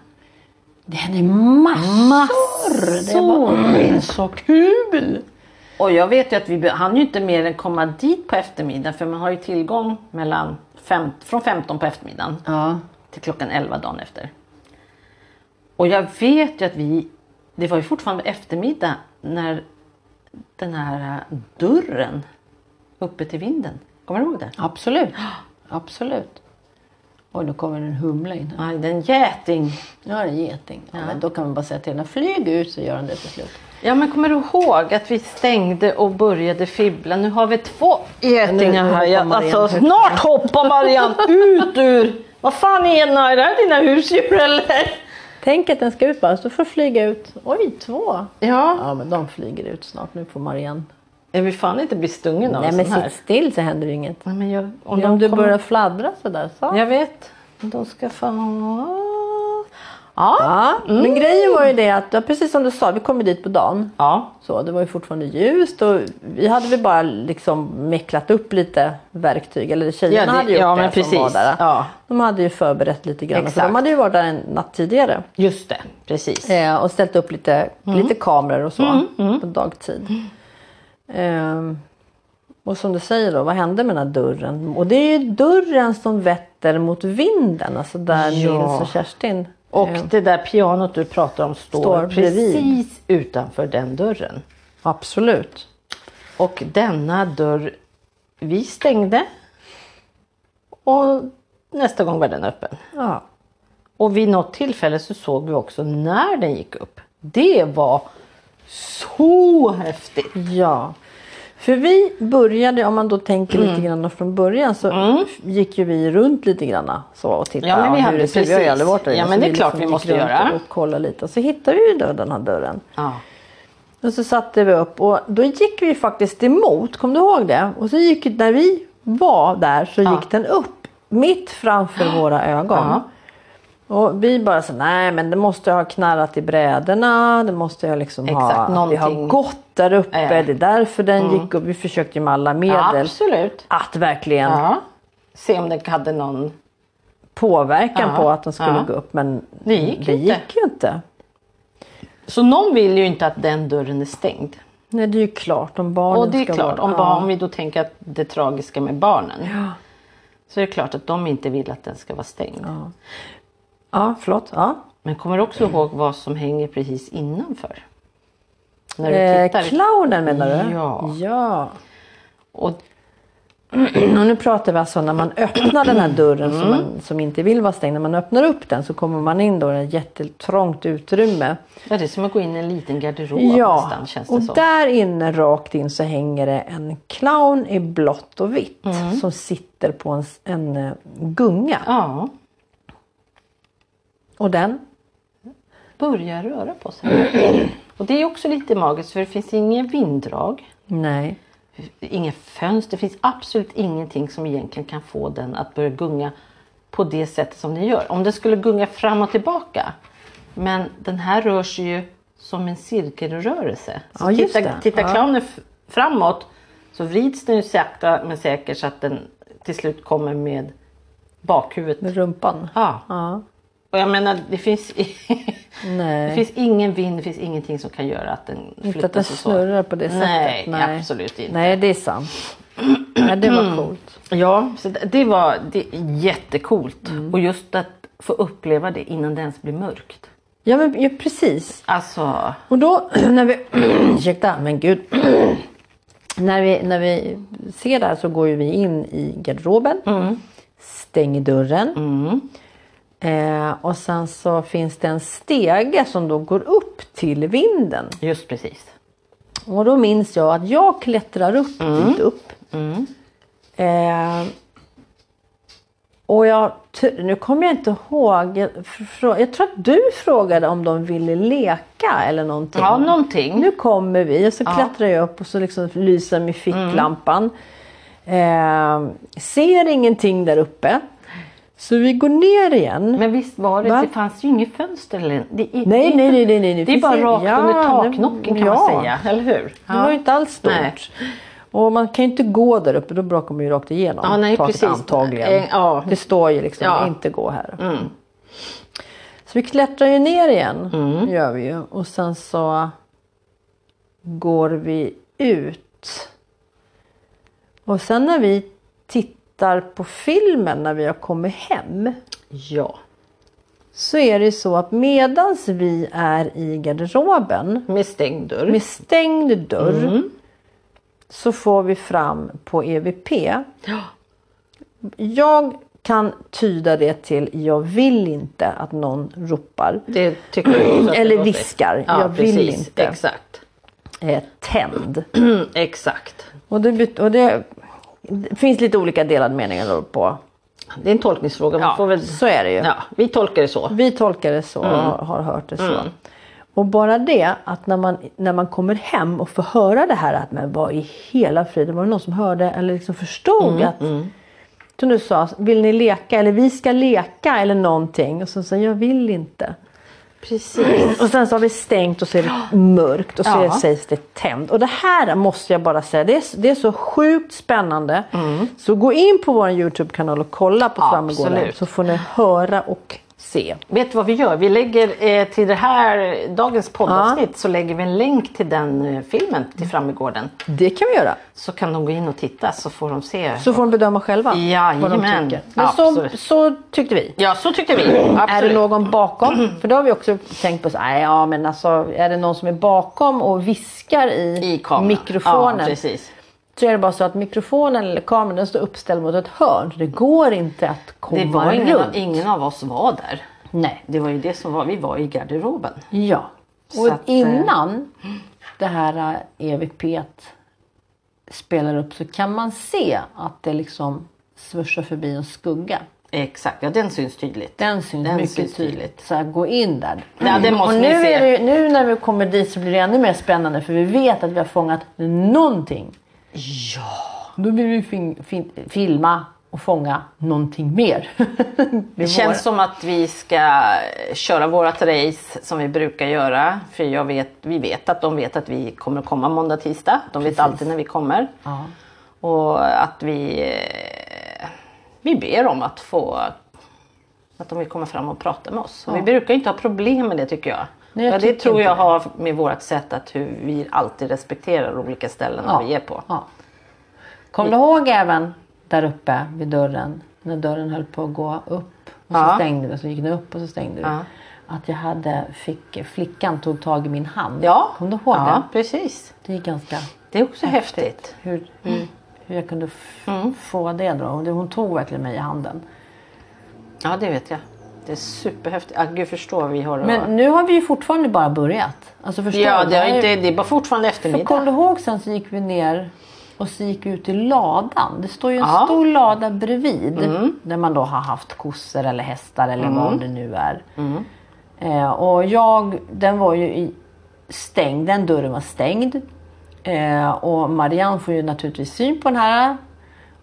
Speaker 1: Det hände massor! Det var Mm. så kul!
Speaker 2: Och jag vet ju att vi hann ju inte mer än komma dit på eftermiddagen för man har ju tillgång mellan fem, från 15 på eftermiddagen
Speaker 1: Ja.
Speaker 2: till klockan 11 dagen efter. Och jag vet ju att vi, det var ju fortfarande eftermiddag när den här eh, dörren uppe till vinden, kommer du ihåg det?
Speaker 1: Absolut. Absolut. Oj, nu kommer en humla in här.
Speaker 2: Nej, den geting.
Speaker 1: Nu har en geting. Ja, Men då kan man bara säga till den, flyg ut så gör den det till slut.
Speaker 2: Ja men kommer du ihåg att vi stängde och började fibbla? Nu har vi två getingar
Speaker 1: nu
Speaker 2: här.
Speaker 1: hoppar
Speaker 2: Jag,
Speaker 1: Marianne
Speaker 2: alltså,
Speaker 1: ut.
Speaker 2: snart hoppar Marianne ut ur... Vad fan Ena, är det här dina husdjur eller?
Speaker 1: Tänk att den ska ut bara, så får flyga ut. Oj, två!
Speaker 2: Ja.
Speaker 1: Ja, men de flyger ut snart. Nu får Marianne.
Speaker 2: Jag vill fan inte bli stungen av
Speaker 1: Nej,
Speaker 2: en
Speaker 1: men
Speaker 2: sån här.
Speaker 1: sitt still så händer inget.
Speaker 2: Nej, men jag, om
Speaker 1: Om
Speaker 2: de
Speaker 1: du
Speaker 2: kommer-
Speaker 1: börjar fladdra sådär, så.
Speaker 2: Jag vet. De ska fan... Ja.
Speaker 1: Ja, men grejen var ju det att, ja, precis som du sa, vi kom ju dit på dagen.
Speaker 2: Ja.
Speaker 1: Så, det var ju fortfarande ljust och vi hade väl bara liksom mecklat upp lite verktyg. Eller tjejerna
Speaker 2: Ja, det-
Speaker 1: hade gjort det
Speaker 2: ja, men
Speaker 1: som var
Speaker 2: precis.
Speaker 1: där.
Speaker 2: Ja.
Speaker 1: De hade ju förberett lite grann. För
Speaker 2: Exakt.
Speaker 1: de hade ju varit där en natt tidigare.
Speaker 2: Just det. Precis.
Speaker 1: Eh, och ställt upp lite,
Speaker 2: Mm.
Speaker 1: lite kameror och så på dagtid. Ehm, och som du säger då, vad hände med den här dörren? Och det är ju dörren som vetter mot vinden. Alltså där
Speaker 2: Ja.
Speaker 1: Nils och Kerstin.
Speaker 2: Och
Speaker 1: eh,
Speaker 2: det där pianot du pratar om står,
Speaker 1: Står bredvid.
Speaker 2: precis utanför den dörren.
Speaker 1: absolut.
Speaker 2: Och denna dörr vi stängde. Och nästa gång var den öppen.
Speaker 1: Ja.
Speaker 2: Och vid något tillfälle så såg vi också när den gick upp. Det var så häftigt.
Speaker 1: Ja. För vi började, om man då tänker lite
Speaker 2: Mm.
Speaker 1: grann från början så gick ju vi runt lite grann så och tittade.
Speaker 2: Ja, men vi hade-
Speaker 1: det ser ut. Vi har ju
Speaker 2: precis.
Speaker 1: aldrig varit där
Speaker 2: Ja,
Speaker 1: inne,
Speaker 2: men
Speaker 1: så
Speaker 2: det är klart vi
Speaker 1: gick
Speaker 2: måste
Speaker 1: runt
Speaker 2: göra.
Speaker 1: Och kolla lite. Så hittade vi ju då den här dörren.
Speaker 2: Ja.
Speaker 1: Och så satte vi upp och då gick vi faktiskt emot, kom du ihåg det? Och så gick, när vi var där så gick den upp mitt framför våra ögon.
Speaker 2: Ja.
Speaker 1: Och vi bara så nej men det måste jag ha knarrat i bräderna, det måste jag liksom ha,
Speaker 2: Exakt,
Speaker 1: att det har
Speaker 2: någonting.
Speaker 1: gått där uppe,
Speaker 2: Ja. Mm.
Speaker 1: det är därför den gick upp. Vi försökte ju med alla medel
Speaker 2: absolut.
Speaker 1: att verkligen
Speaker 2: Ja. Se om den hade någon...
Speaker 1: påverkan
Speaker 2: Ja.
Speaker 1: på att den skulle
Speaker 2: Ja.
Speaker 1: gå upp men
Speaker 2: Det gick
Speaker 1: det
Speaker 2: inte.
Speaker 1: gick ju inte.
Speaker 2: Så någon vill ju inte att den dörren är stängd.
Speaker 1: Nej det är ju klart om barnen
Speaker 2: Och det är
Speaker 1: ska
Speaker 2: klart,
Speaker 1: vara...
Speaker 2: om,
Speaker 1: Ja.
Speaker 2: barn- om vi då tänker att det tragiska med barnen. Så är det klart att de inte vill att den ska vara stängd.
Speaker 1: Ja, förlåt. Ja.
Speaker 2: Men kommer du också ihåg vad som hänger precis innanför? När du
Speaker 1: Eh,
Speaker 2: tittar.
Speaker 1: clownen menar du?
Speaker 2: Ja.
Speaker 1: ja.
Speaker 2: och,
Speaker 1: Och nu pratar vi alltså när man öppnar den här dörren som, man, som inte vill vara stängd. När man öppnar upp den så kommer man in då i ett jättetrångt utrymme.
Speaker 2: ja, det är som att gå in i en liten garderob
Speaker 1: Ja,
Speaker 2: nästan känns det
Speaker 1: och
Speaker 2: som.
Speaker 1: där inne rakt in så hänger det en clown i blått och vitt som sitter på en, s- en eh, gunga.
Speaker 2: Ja,
Speaker 1: Och den?
Speaker 2: börjar röra på sig. och det är också lite magiskt för det finns ingen vinddrag,
Speaker 1: Nej.
Speaker 2: inga fönster, det finns absolut ingenting som egentligen kan få den att börja gunga på det sättet som den gör. Om den skulle gunga fram och tillbaka. Men den här rör sig ju som en cirkelrörelse. Så
Speaker 1: Ja, just
Speaker 2: tittar
Speaker 1: det.
Speaker 2: tittar
Speaker 1: Ja.
Speaker 2: clownen f- framåt så vrids den ju sakta men säkert så att den till slut kommer med bakhuvudet.
Speaker 1: Med rumpan.
Speaker 2: Ja.
Speaker 1: Ja.
Speaker 2: Och jag menar det finns, det
Speaker 1: Nej.
Speaker 2: finns ingen vind, det finns ingenting som kan göra att den flyttas
Speaker 1: Inte att den
Speaker 2: och så.
Speaker 1: snurrar på det
Speaker 2: Nej,
Speaker 1: sättet. Nej.
Speaker 2: absolut inte.
Speaker 1: Nej, det är sant. Nej, det var coolt.
Speaker 2: Ja, så det, det var det är jättecoolt.
Speaker 1: Mm.
Speaker 2: Och just att få uppleva det innan det ens blir mörkt.
Speaker 1: Ja, men ja, precis.
Speaker 2: Alltså,
Speaker 1: Och då när vi... ursäkta, men gud. när, vi, när vi ser det här så går ju vi in i garderoben. Stänger dörren. Eh, och sen så finns det en stege som då går upp till vinden.
Speaker 2: just precis.
Speaker 1: Och då minns jag att jag klättrar upp dit upp. Eh, och jag, t- nu kommer jag inte ihåg. Jag, frå- jag tror att du frågade om de ville leka eller någonting.
Speaker 2: Ja, någonting.
Speaker 1: Nu kommer vi och så klättrar jag upp och så liksom lyser med ficklampan.
Speaker 2: Mm.
Speaker 1: Eh, ser ingenting där uppe. Så vi går ner igen.
Speaker 2: Men visst var det,
Speaker 1: Va?
Speaker 2: det fanns ju inget fönster. eller- Det, det,
Speaker 1: Nej,
Speaker 2: det-
Speaker 1: nej, nej, nej, nej, det
Speaker 2: Det är
Speaker 1: finns
Speaker 2: bara
Speaker 1: ju-
Speaker 2: rakt
Speaker 1: ja,
Speaker 2: under
Speaker 1: det-
Speaker 2: taknocken kan
Speaker 1: ja.
Speaker 2: man säga, eller hur?
Speaker 1: Det var ju inte alls stort.
Speaker 2: Nej.
Speaker 1: Och man kan ju inte gå där uppe, då brakar man ju rakt igenom
Speaker 2: Ja, nej,
Speaker 1: taket
Speaker 2: precis.
Speaker 1: antagligen.
Speaker 2: Eh, ja.
Speaker 1: Det står ju liksom
Speaker 2: Ja.
Speaker 1: inte gå här. Så vi klättrar ju ner igen, gör vi ju. Och sen så går vi ut. Och sen när vi tittar på filmen när vi har kommit hem
Speaker 2: Ja.
Speaker 1: så är det ju så att medans vi är i garderoben
Speaker 2: Med stängd dörr.
Speaker 1: med stängd dörr
Speaker 2: Mm.
Speaker 1: så får vi fram på EVP. Jag kan tyda det till jag vill inte att någon ropar.
Speaker 2: Det tycker jag också att det
Speaker 1: Eller
Speaker 2: var fint.
Speaker 1: viskar.
Speaker 2: Ja,
Speaker 1: Jag vill
Speaker 2: precis.
Speaker 1: inte.
Speaker 2: Exakt.
Speaker 1: Eh, tänd.
Speaker 2: Exakt.
Speaker 1: Och det, bet- och det, det finns lite olika delade meningar på.
Speaker 2: Det är en tolkningsfråga. Man
Speaker 1: Ja,
Speaker 2: får väl...
Speaker 1: så är det ju.
Speaker 2: ja, vi tolkar det så.
Speaker 1: Vi tolkar det
Speaker 2: Mm.
Speaker 1: så och har- har hört det så. Och bara det att när man, när man kommer hem och får höra det här att men vad i hela friden var det någon som hörde eller liksom förstod
Speaker 2: Mm,
Speaker 1: att som du sa, vill ni leka eller vi ska leka eller någonting och så säger jag vill inte.
Speaker 2: Precis.
Speaker 1: Och sen så har vi stängt och så är det mörkt och så
Speaker 2: Ja.
Speaker 1: sägs det tänd. Och det här måste jag bara säga, det är, det är så sjukt spännande.
Speaker 2: Mm.
Speaker 1: Så gå in på vår Youtube-kanal och kolla på Framgården
Speaker 2: Absolut.
Speaker 1: så får ni höra och se.
Speaker 2: Vet du vad vi gör? Vi lägger eh, till det här dagens poddavsnitt så lägger vi en länk till den eh, filmen till Frammegården.
Speaker 1: Det kan vi göra.
Speaker 2: Så kan de gå in och titta så får de se.
Speaker 1: Så får de bedöma själva vad de
Speaker 2: Jajamän.
Speaker 1: tycker. Men så,
Speaker 2: Absolut.
Speaker 1: så tyckte vi.
Speaker 2: Ja, så tyckte vi. Absolut.
Speaker 1: Är det någon bakom? För då har vi också tänkt på så, nej, ja, men alltså, är det någon som är bakom och viskar i,
Speaker 2: I kameran. Ja,
Speaker 1: mikrofonen
Speaker 2: precis.
Speaker 1: så är det bara så att mikrofonen eller kameran den står uppställd mot ett hörn. Så det går inte att komma
Speaker 2: Det var ingen,
Speaker 1: runt.
Speaker 2: av- ingen av oss var där.
Speaker 1: Nej.
Speaker 2: Det var ju det som var, vi var i garderoben.
Speaker 1: Ja. Och
Speaker 2: Så att, eh,
Speaker 1: innan det här eh, EVP t spelar upp så kan man se att det liksom svursar förbi en skugga.
Speaker 2: Exakt, ja den syns tydligt.
Speaker 1: Den syns
Speaker 2: Den
Speaker 1: mycket
Speaker 2: syns
Speaker 1: tydligt.
Speaker 2: tydligt.
Speaker 1: Så här, gå in där. Mm.
Speaker 2: Ja, det måste
Speaker 1: och nu,
Speaker 2: ni se.
Speaker 1: är det, ju- nu när vi kommer dit så blir det ännu mer spännande för vi vet att vi har fångat någonting. Ja. Då vill vi fin, fin, filma och fånga någonting mer.
Speaker 2: Det känns som att vi ska köra vårat race som vi brukar göra. För jag vet, vi vet att de vet att vi kommer att komma måndag, tisdag. De vet alltid när vi kommer.
Speaker 1: Ja.
Speaker 2: Och att vi, eh, vi ber om att få att de vill komma fram och prata med oss. Och Vi brukar inte ha problem med det tycker jag.
Speaker 1: Nej, jag
Speaker 2: ja, det
Speaker 1: tycker
Speaker 2: tror
Speaker 1: inte
Speaker 2: jag
Speaker 1: det.
Speaker 2: har med vårt sätt att hur vi alltid respekterar olika ställen
Speaker 1: Ja.
Speaker 2: vi är på.
Speaker 1: Ja. Kom du ihåg även där uppe vid dörren, när dörren höll på att gå upp och så
Speaker 2: Ja.
Speaker 1: stängde vi, så gick den upp och så stängde vi.
Speaker 2: Ja.
Speaker 1: Att jag hade, fick, flickan tog tag i min hand.
Speaker 2: Ja,
Speaker 1: Kom du ihåg
Speaker 2: ja
Speaker 1: det?
Speaker 2: precis.
Speaker 1: Det är ganska
Speaker 2: Det är också häftigt.
Speaker 1: hur, hur,
Speaker 2: Mm.
Speaker 1: hur jag kunde f- få det då. Och det- Hon tog verkligen mig i handen.
Speaker 2: Ja, det vet jag. Det är superhäftigt. Ah, gud, förstår vad vi har att-
Speaker 1: Men nu har vi ju fortfarande bara börjat. Alltså förstår
Speaker 2: Ja,
Speaker 1: du?
Speaker 2: det, har
Speaker 1: här är-
Speaker 2: inte, det är bara fortfarande
Speaker 1: För Kom
Speaker 2: eftermiddag.
Speaker 1: du ihåg sen så gick vi ner och så gick vi ut i ladan. Det står ju en
Speaker 2: Ja. Mm.
Speaker 1: stor lada bredvid. Där man då har haft kossor eller hästar eller vad det nu är.
Speaker 2: Mm.
Speaker 1: Eh, och jag, den var ju i, stängd. Den dörren var stängd. Eh, och Marianne får ju naturligtvis syn på den här.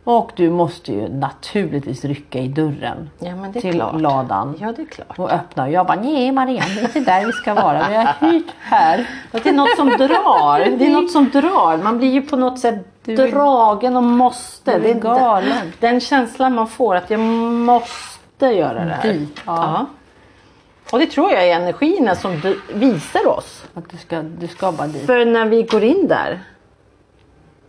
Speaker 1: Och du måste ju naturligtvis rycka i dörren
Speaker 2: Ja, men det är
Speaker 1: till
Speaker 2: klart.
Speaker 1: ladan.
Speaker 2: Ja, det är klart.
Speaker 1: Och öppna. Jag bara, nej Marianne, det är inte där vi ska vara. Vi har hyrt här.
Speaker 2: Det är något som drar. Det är något som drar. Man blir ju på något sätt
Speaker 1: är-
Speaker 2: dragen och måste.
Speaker 1: Du är
Speaker 2: Det är
Speaker 1: galen.
Speaker 2: Den känslan man får att jag måste göra det här.
Speaker 1: Dit, ja.
Speaker 2: Ja. Och det tror jag är energierna som du visar oss.
Speaker 1: Att du, ska, du ska bara dit.
Speaker 2: För när vi går in där.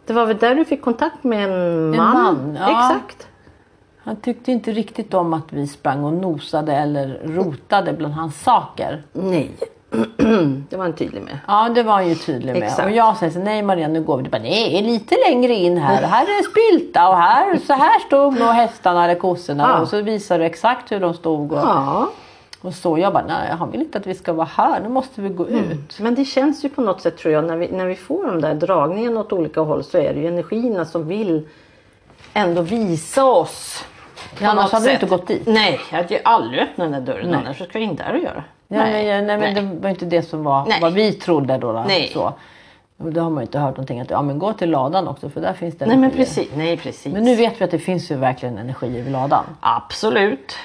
Speaker 2: Det var väl där du fick kontakt med en man?
Speaker 1: man, ja.
Speaker 2: Exakt.
Speaker 1: Han tyckte inte riktigt om att vi sprang och nosade eller rotade bland hans saker.
Speaker 2: Nej. det var han tydlig med.
Speaker 1: Ja, det var han ju tydlig med.
Speaker 2: Exakt.
Speaker 1: Och jag säger så nej Marianne, nu går vi. Du bara, nej, lite längre in här. Här är spilta och här, så här stod nog hästarna eller kossorna.
Speaker 2: Ja.
Speaker 1: Och så visar du exakt hur de stod. Och,
Speaker 2: Ja.
Speaker 1: och så jag bara, nej han vill inte att vi ska vara här. Nu måste vi gå
Speaker 2: Mm.
Speaker 1: ut.
Speaker 2: Men det känns ju på något sätt tror jag när vi, när vi får de där dragningarna åt olika håll så är det ju energierna som vill ändå visa oss. på
Speaker 1: annars
Speaker 2: något
Speaker 1: hade du
Speaker 2: sätt.
Speaker 1: inte gått dit.
Speaker 2: Nej, jag hade ju aldrig öppnat den där dörren annars så ska jag in där och göra.
Speaker 1: Ja, nej, men, nej, men det var inte det som var
Speaker 2: Nej.
Speaker 1: vad vi trodde då. då
Speaker 2: Nej.
Speaker 1: Så. Och då har man ju inte hört någonting. Att, ja, men gå till ladan också för där finns det
Speaker 2: Nej men
Speaker 1: energier.
Speaker 2: precis. Nej, precis.
Speaker 1: Men nu vet vi att det finns ju verkligen energier vid ladan.
Speaker 2: Absolut.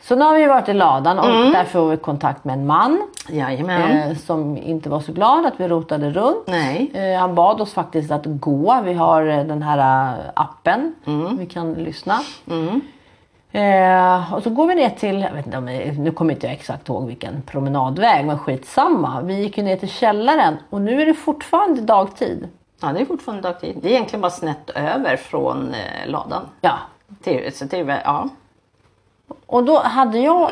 Speaker 1: Så nu har vi varit i ladan och där får vi kontakt med en man
Speaker 2: Jajamän.
Speaker 1: eh, som inte var så glad att vi rotade runt.
Speaker 2: Nej.
Speaker 1: Eh, han bad oss faktiskt att gå. Vi har eh, den här eh, appen. Vi kan lyssna. Eh, och så går vi ner till, jag vet inte om, nu kommer inte jag exakt ihåg vilken promenadväg men skitsamma. Vi gick ju ner till källaren och nu är det fortfarande dagtid.
Speaker 2: Ja, det är fortfarande dagtid. Det är egentligen bara snett över från eh, ladan.
Speaker 1: Ja.
Speaker 2: Till, så till, ja.
Speaker 1: Och då hade jag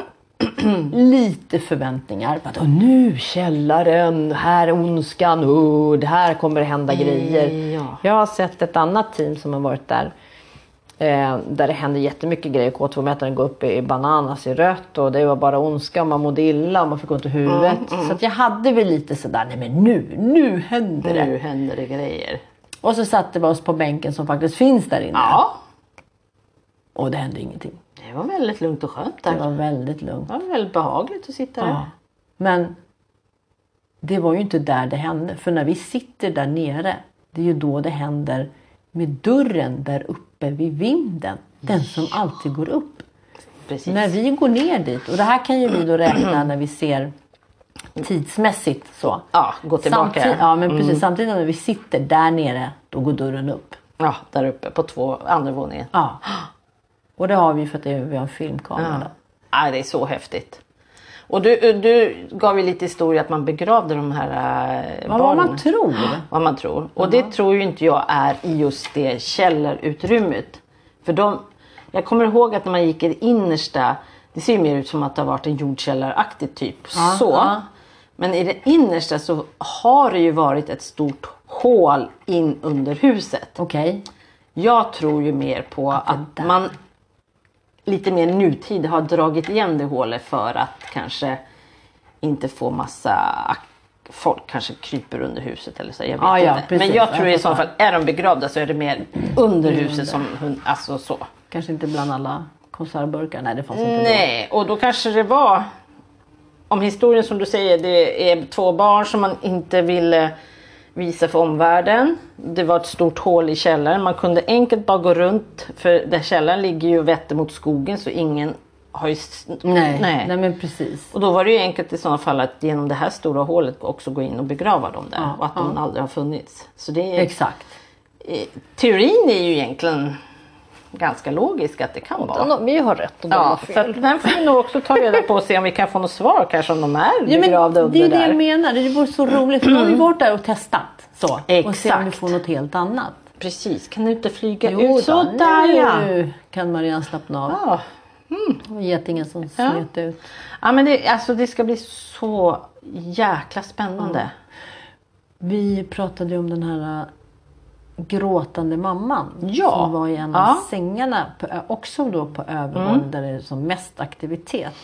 Speaker 1: lite förväntningar. På att, "Åh, nu källaren, här är ondskan, oh, det här kommer det hända grejer.
Speaker 2: Mm, ja.
Speaker 1: Jag har sett ett annat team som har varit där. Eh, där det händer jättemycket grejer. K2-mätaren går upp i i bananas i rött och det var bara ondska. Man mådde illa, man fick ont i huvudet.
Speaker 2: Mm,
Speaker 1: Så att jag hade väl lite sådär, nej men nu, nu händer det.
Speaker 2: Nu händer det grejer.
Speaker 1: Och så satte vi oss på bänken som faktiskt finns där inne.
Speaker 2: Ja.
Speaker 1: Och det hände ingenting.
Speaker 2: Det var väldigt lugnt och skönt
Speaker 1: Det
Speaker 2: där.
Speaker 1: var väldigt lugnt.
Speaker 2: Det var väldigt behagligt att sitta där.
Speaker 1: Ja. Men det var ju inte där det hände. För när vi sitter där nere, det är ju då det händer med dörren där uppe vid vinden. Den som alltid går upp.
Speaker 2: Precis.
Speaker 1: När vi går ner dit, och det här kan ju vi då räkna när vi ser tidsmässigt så.
Speaker 2: Ja, gå tillbaka.
Speaker 1: Samtid- ja, Mm. men precis, Samtidigt när vi sitter där nere, då går dörren upp.
Speaker 2: Ja, där uppe på två, andra våningen.
Speaker 1: Ja. Och det har vi för att det är, vi har en filmkamera.
Speaker 2: Nej, det är så häftigt. Och du, du gav ju lite historia att man begravde de här eh,
Speaker 1: Vad var
Speaker 2: barnen.
Speaker 1: man tror.
Speaker 2: vad man tror. Och det tror ju inte jag är i just det källarutrymmet. För de, jag kommer ihåg att när man gick i det innersta, det ser ju mer ut som att det har varit en jordkällaraktig typ. så.
Speaker 1: ja.
Speaker 2: Men i det innersta så har det ju varit ett stort hål in under huset.
Speaker 1: Okej.
Speaker 2: Jag tror ju mer på att
Speaker 1: där.
Speaker 2: man lite mer nutid har dragit igen det hålet för att kanske inte få massa ak- folk kanske kryper under huset eller så. Jag vet
Speaker 1: Ja, ja,
Speaker 2: inte.
Speaker 1: precis.
Speaker 2: Men jag tror
Speaker 1: Jag
Speaker 2: i så fall,
Speaker 1: fattar.
Speaker 2: är de begravda så är det mer under huset som hund, alltså så.
Speaker 1: Kanske inte bland alla konservburkar. Nej, det fanns inte. då.
Speaker 2: Nej, och då kanske det var, om historien som du säger, det är två barn som man inte ville visa för omvärlden. Det var ett stort hål i källaren. Man kunde enkelt bara gå runt, för där källaren ligger ju och vetter mot skogen så ingen har ju... s-
Speaker 1: Nej, Mm. nej. men precis.
Speaker 2: Och då var det ju enkelt i sådana fall att genom det här stora hålet också gå in och begrava dem där
Speaker 1: Ja,
Speaker 2: och att de aldrig har funnits. Så det är,
Speaker 1: Exakt.
Speaker 2: eh, teorin är ju egentligen ganska logisk att det kan vara.
Speaker 1: vi har rätt och
Speaker 2: Ja, så att den får vi nog också ta reda på och se om vi kan få något svar kanske om de är
Speaker 1: Ja, men
Speaker 2: begravda under
Speaker 1: det är det
Speaker 2: där.
Speaker 1: jag menar. Det vore så roligt. Nu har vi varit där och testat. Så. Och se om vi
Speaker 2: Exakt.
Speaker 1: får något helt annat.
Speaker 2: Precis, kan du inte flyga
Speaker 1: Jo då,
Speaker 2: ut? Så där ja!
Speaker 1: Nu kan Marianne slappna av.
Speaker 2: Ja.
Speaker 1: Det var Getingen som smet ut.
Speaker 2: ja men det, alltså, det ska bli så jäkla spännande.
Speaker 1: Vi pratade ju om den här äh, gråtande mamman.
Speaker 2: Ja.
Speaker 1: Som var i en av
Speaker 2: Ja. Mm.
Speaker 1: sängarna. På, ö- också då på övervåningen där det är som mest aktivitet.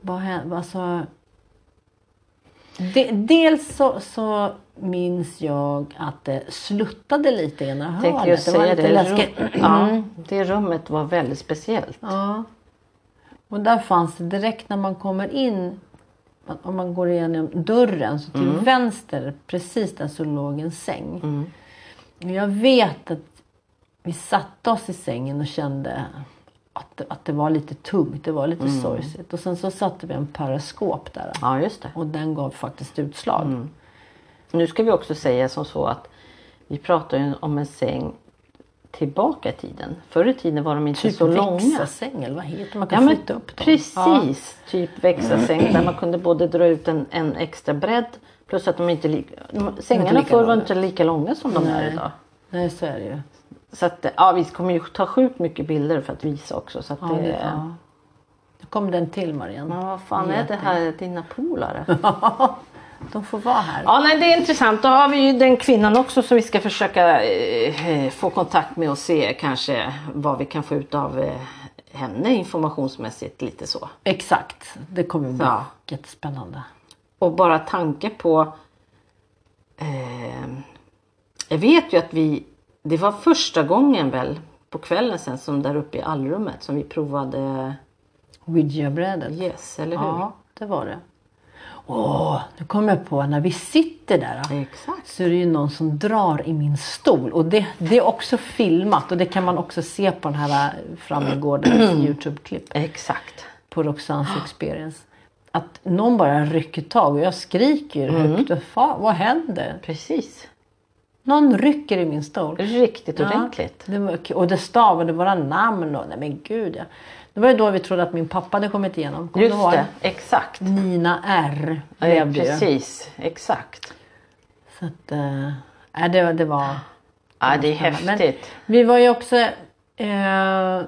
Speaker 1: Vad hände? Alltså, de, dels så, så minns jag att det sluttade lite i ena
Speaker 2: Tänkte
Speaker 1: hörnet.
Speaker 2: just
Speaker 1: Det var
Speaker 2: säga
Speaker 1: lite
Speaker 2: det.
Speaker 1: läskigt.
Speaker 2: Rum, ja, det rummet var väldigt speciellt.
Speaker 1: Ja. Och där fanns det direkt när man kommer in, om man går igenom dörren, så till
Speaker 2: Mm.
Speaker 1: vänster, precis där så låg en säng. Och jag vet att
Speaker 4: vi satte oss i sängen och kände att, det- att det var lite tungt. Det var lite
Speaker 2: Mm.
Speaker 4: sorgset. Och sen så satte vi en paraskop där.
Speaker 2: Ja, just det.
Speaker 4: Och den gav faktiskt utslag.
Speaker 2: Mm.
Speaker 4: Typ
Speaker 2: Nu ska vi också säga som så att vi pratar ju om en säng tillbaka i tiden. Förr i tiden var de inte
Speaker 4: Typ
Speaker 2: så långa.
Speaker 4: växelsäng eller vad heter det? Man
Speaker 2: Ja,
Speaker 4: kan
Speaker 2: men
Speaker 4: flytta upp dem.
Speaker 2: precis, typ växelsäng där man kunde både dra ut en, en extra bredd plus att de inte... Li, de, sängarna
Speaker 4: lika
Speaker 2: förr var
Speaker 4: långa.
Speaker 2: inte lika långa som de är
Speaker 4: Nej.
Speaker 2: idag.
Speaker 4: Nej, så är det ju.
Speaker 2: Så att, ja, vi kommer ju ta sjukt mycket bilder för att visa också. Så att
Speaker 4: Ja,
Speaker 2: det,
Speaker 4: det, ja. Nu kom den till Marianne.
Speaker 2: Men vad fan är det här dina polare?
Speaker 4: De får vara här.
Speaker 2: Ja, nej, det är intressant. Då har vi ju den kvinnan också som vi ska försöka eh, få kontakt med och se kanske vad vi kan få ut av eh, henne informationsmässigt lite så.
Speaker 4: Exakt. Det kommer bli
Speaker 2: Ja.
Speaker 4: jättespännande.
Speaker 2: Och bara tanke på... Eh, jag vet ju att vi... Det var första gången väl på kvällen sen som där uppe i allrummet som vi provade
Speaker 4: Ouija-brädet.
Speaker 2: Yes, eller hur?
Speaker 4: Ja, det var det. Åh, nu kom jag på när vi sitter där.
Speaker 2: Exakt.
Speaker 4: så är det ju någon som drar i min stol. Och det, det är också filmat och det kan man också se på den här Frammegårdens Youtube-klipp
Speaker 2: Exakt.
Speaker 4: på Roxans Experience. Att någon bara rycker tag och jag skriker högt. Fan, vad händer?
Speaker 2: Precis.
Speaker 4: Någon rycker i min stol.
Speaker 2: Riktigt
Speaker 4: Ja.
Speaker 2: ordentligt.
Speaker 4: Det var, och det stavade våra namn och nej men gud. Ja. Det var ju då vi trodde att min pappa hade kommit igenom. Kommer du
Speaker 2: Just
Speaker 4: ihåg?
Speaker 2: det, exakt.
Speaker 4: Nina R.
Speaker 2: Ja,
Speaker 4: blev det ju.
Speaker 2: precis, exakt.
Speaker 4: Så att, eh, nej, det, det var...
Speaker 2: Ja, det är
Speaker 4: Men
Speaker 2: häftigt.
Speaker 4: vi var ju också... Eh,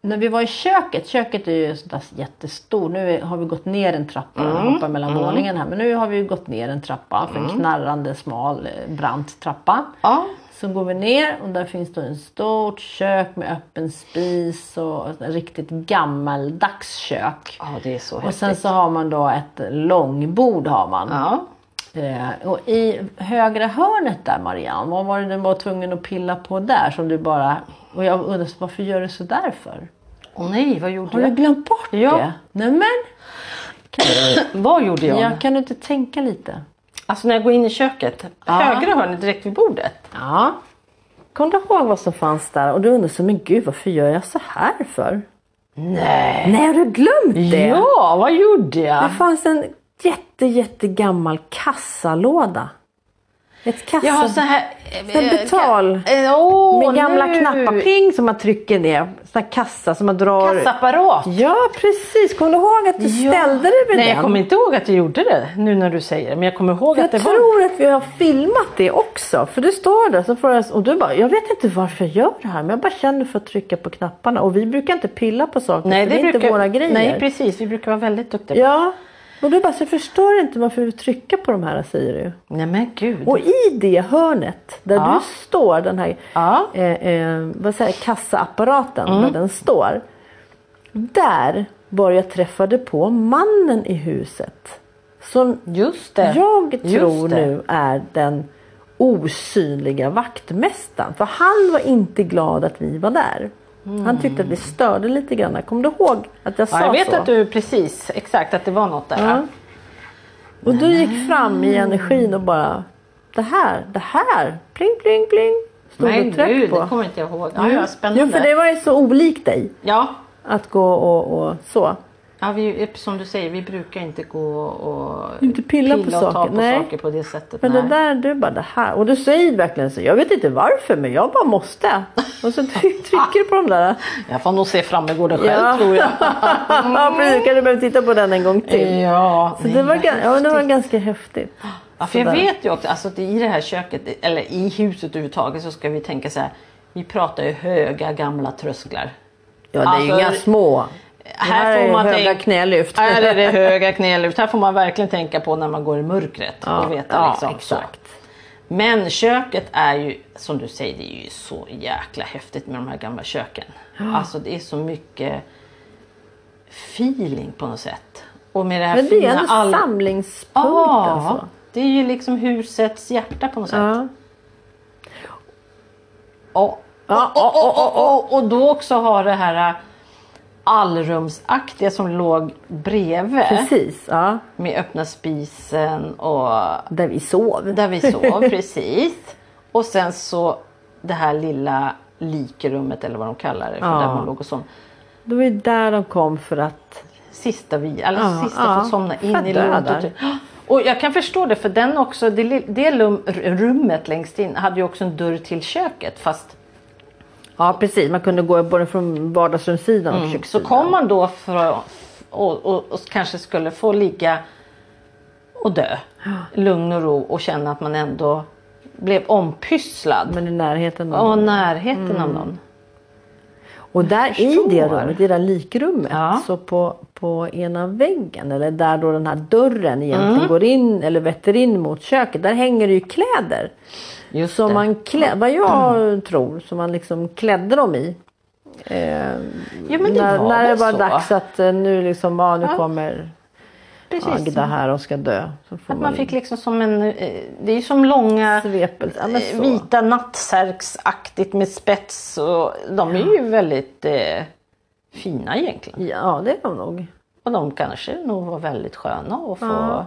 Speaker 4: när vi var i köket, köket är ju sådär jättestort. Nu har vi gått ner en trappa och
Speaker 2: Mm,
Speaker 4: hoppar mellan våningen här. Men nu har vi ju gått ner en trappa för en knarrande smal eh, brant trappa.
Speaker 2: Ja,
Speaker 4: Så går vi ner och där finns då en stort kök med öppen spis och ett riktigt gammaldags kök.
Speaker 2: ja det är så
Speaker 4: Och
Speaker 2: häftigt.
Speaker 4: sen så har man då ett långbord har man.
Speaker 2: Ja,
Speaker 4: Eh, och i högra hörnet där Marianne, vad var det du var tvungen att pilla på där som du bara... Och jag undrar så, varför gör du sådär för?
Speaker 2: åh nej, vad gjorde
Speaker 4: Har du
Speaker 2: jag?
Speaker 4: glömt bort
Speaker 2: Ja.
Speaker 4: det? Nej men,
Speaker 2: Vad gjorde jag?
Speaker 4: ja, kan du inte tänka lite?
Speaker 2: Alltså när jag går in i köket, högra hörnet direkt vid bordet.
Speaker 4: Ja.
Speaker 1: Kom du ihåg vad som fanns där? Och du undrar så, men gud varför gör jag så här för?
Speaker 2: Nej!
Speaker 1: Nej, har du glömt det?
Speaker 2: Ja, vad gjorde jag?
Speaker 1: Det fanns en jätte, jättegammal kassalåda. Ett kassa...
Speaker 2: Jag har så här...
Speaker 1: Så här eh, betal.
Speaker 2: Ka- eh, åh,
Speaker 1: med gamla
Speaker 2: nu.
Speaker 1: knappar, ping, som man trycker ner. Sån här kassa som man drar...
Speaker 2: Kassaapparat.
Speaker 1: Ja, precis. Kommer du ihåg att du ställde dig vid
Speaker 2: Nej,
Speaker 1: den?
Speaker 2: jag kommer inte ihåg att jag gjorde det nu när du säger det. Men jag kommer ihåg att
Speaker 1: Jag
Speaker 2: det var...
Speaker 1: tror att vi har filmat det också. För du står där så får jag, och du bara, jag vet inte varför jag gör det här. Men jag bara känner för att trycka på knapparna. Och vi brukar inte pilla på saker.
Speaker 2: Nej,
Speaker 1: för det är inte våra grejer.
Speaker 2: Nej, precis. Vi brukar vara väldigt duktiga. på-
Speaker 1: ja. Och du bara, så jag förstår inte varför du trycker på de här säger du.
Speaker 2: Nej, men gud.
Speaker 1: Och i det hörnet där
Speaker 2: Ja.
Speaker 1: du står, den här
Speaker 2: Ja. Mm.
Speaker 1: eh, eh, vad säger, jag, kassaapparaten, där den står. Där var jag träffade på mannen i huset. Som
Speaker 2: Just det.
Speaker 1: jag
Speaker 2: Just
Speaker 1: tror
Speaker 2: det.
Speaker 1: nu är den osynliga vaktmästaren. För han var inte glad att vi var där. Han tyckte att vi störde lite grann. Kommer du ihåg att jag sa
Speaker 2: Ja, jag vet
Speaker 1: så?
Speaker 2: att du precis, exakt, att det var något där.
Speaker 1: Ja. Och du
Speaker 2: Mm.
Speaker 1: gick fram i energin och bara Det här, det här, pling pling pling. Stod
Speaker 2: Men
Speaker 1: och tryck
Speaker 2: gud, det
Speaker 1: på.
Speaker 2: kommer inte jag ihåg. Ja, ja, spännande.
Speaker 1: Jo för det var ju så olikt dig
Speaker 2: Ja,
Speaker 1: att gå och, och så.
Speaker 2: ja vi, som du säger, vi brukar inte gå och
Speaker 1: Inte pilla på
Speaker 2: och ta
Speaker 1: saker,
Speaker 2: på
Speaker 1: nej.
Speaker 2: saker på det sättet.
Speaker 1: Men
Speaker 2: nej.
Speaker 1: det där, du bara det här. Och du säger verkligen så, jag vet inte varför men jag bara måste. Och så tryck- trycker du på de där.
Speaker 2: Jag får nog se Frammegården själv
Speaker 1: Ja.
Speaker 2: tror jag.
Speaker 1: Ja precis, kanske behöver titta på den en gång till.
Speaker 2: ja,
Speaker 1: Så det var, ga- ja, det var ganska häftigt.
Speaker 2: Ja, för jag
Speaker 1: Sådär.
Speaker 2: vet ju också, alltså, att i det här köket, eller i huset överhuvudtaget, så ska vi tänka så här. Vi pratar ju höga gamla trösklar.
Speaker 1: Ja det är ju
Speaker 2: Alltså,
Speaker 1: inga små. Det
Speaker 2: här
Speaker 1: här
Speaker 2: får
Speaker 1: är
Speaker 2: man
Speaker 1: höga
Speaker 2: tänka-
Speaker 1: knälyft.
Speaker 2: Här är det höga knälyft. Här får man verkligen tänka på när man går i mörkret.
Speaker 1: Ja,
Speaker 2: och veta,
Speaker 1: ja,
Speaker 2: liksom, så.
Speaker 1: exakt.
Speaker 2: Men köket är ju, som du säger, det är ju så jäkla häftigt med de här gamla köken. Alltså det är så mycket feeling på något sätt. Och med det här
Speaker 1: Men det är
Speaker 2: fina
Speaker 1: ändå
Speaker 2: all-
Speaker 1: samlingspunkt
Speaker 2: Ja,
Speaker 1: alltså.
Speaker 2: det är ju liksom husets hjärta på något sätt.
Speaker 1: Ja.
Speaker 2: Och,
Speaker 1: Ja,
Speaker 2: och, och, och, och, och då också ha det här äh, allrumsaktiga som låg bredvid
Speaker 1: Precis, ja.
Speaker 2: med öppna spisen och
Speaker 1: Där vi sov.
Speaker 2: Där vi sov, precis. Och sen så det här lilla likrummet eller vad de kallar det. För
Speaker 1: Ja.
Speaker 2: där hon låg och som
Speaker 1: Det var ju där de kom för att...
Speaker 2: sista vi, eller
Speaker 1: Ja,
Speaker 2: sista
Speaker 1: ja.
Speaker 2: får somna in i
Speaker 1: Fattar jag
Speaker 2: lugnt.
Speaker 1: där.
Speaker 2: Och, och jag kan förstå det för den också, det, li- det lum- r- rummet längst in hade ju också en dörr till köket fast
Speaker 1: Ja precis, man kunde gå både från vardagsrumssidan och
Speaker 2: Så
Speaker 1: kökssidan.
Speaker 2: kom man då för, och, och, och kanske skulle få ligga och dö. Lugn och ro och känna att man ändå blev ompysslad.
Speaker 1: Men i närheten av
Speaker 2: och närheten
Speaker 1: Mm.
Speaker 2: av någon.
Speaker 1: Och där i
Speaker 2: förstår.
Speaker 1: det rummet, i det där likrummet,
Speaker 2: Ja.
Speaker 1: så på, på ena väggen eller där då den här dörren egentligen
Speaker 2: Mm.
Speaker 1: går in eller vetter in mot köket, där hänger det ju kläder.
Speaker 2: Just Mm.
Speaker 1: Som man klä, vad jag tror, som man liksom klädde dem i.
Speaker 2: Ja men det
Speaker 1: när
Speaker 2: var,
Speaker 1: när det
Speaker 2: väl
Speaker 1: var
Speaker 2: så.
Speaker 1: dags att eh, nu liksom, ja nu kommer
Speaker 2: Precis.
Speaker 1: Agda här och ska dö. Så får
Speaker 2: att man fick liksom som en, eh, det är ju som långa
Speaker 1: svepelse. Ja, men
Speaker 2: eh,
Speaker 1: så.
Speaker 2: vita nattsärksaktigt med spets och de är ju väldigt eh, fina egentligen.
Speaker 1: Ja det är de nog.
Speaker 2: Och de kanske nog var väldigt sköna att få,
Speaker 1: Ja.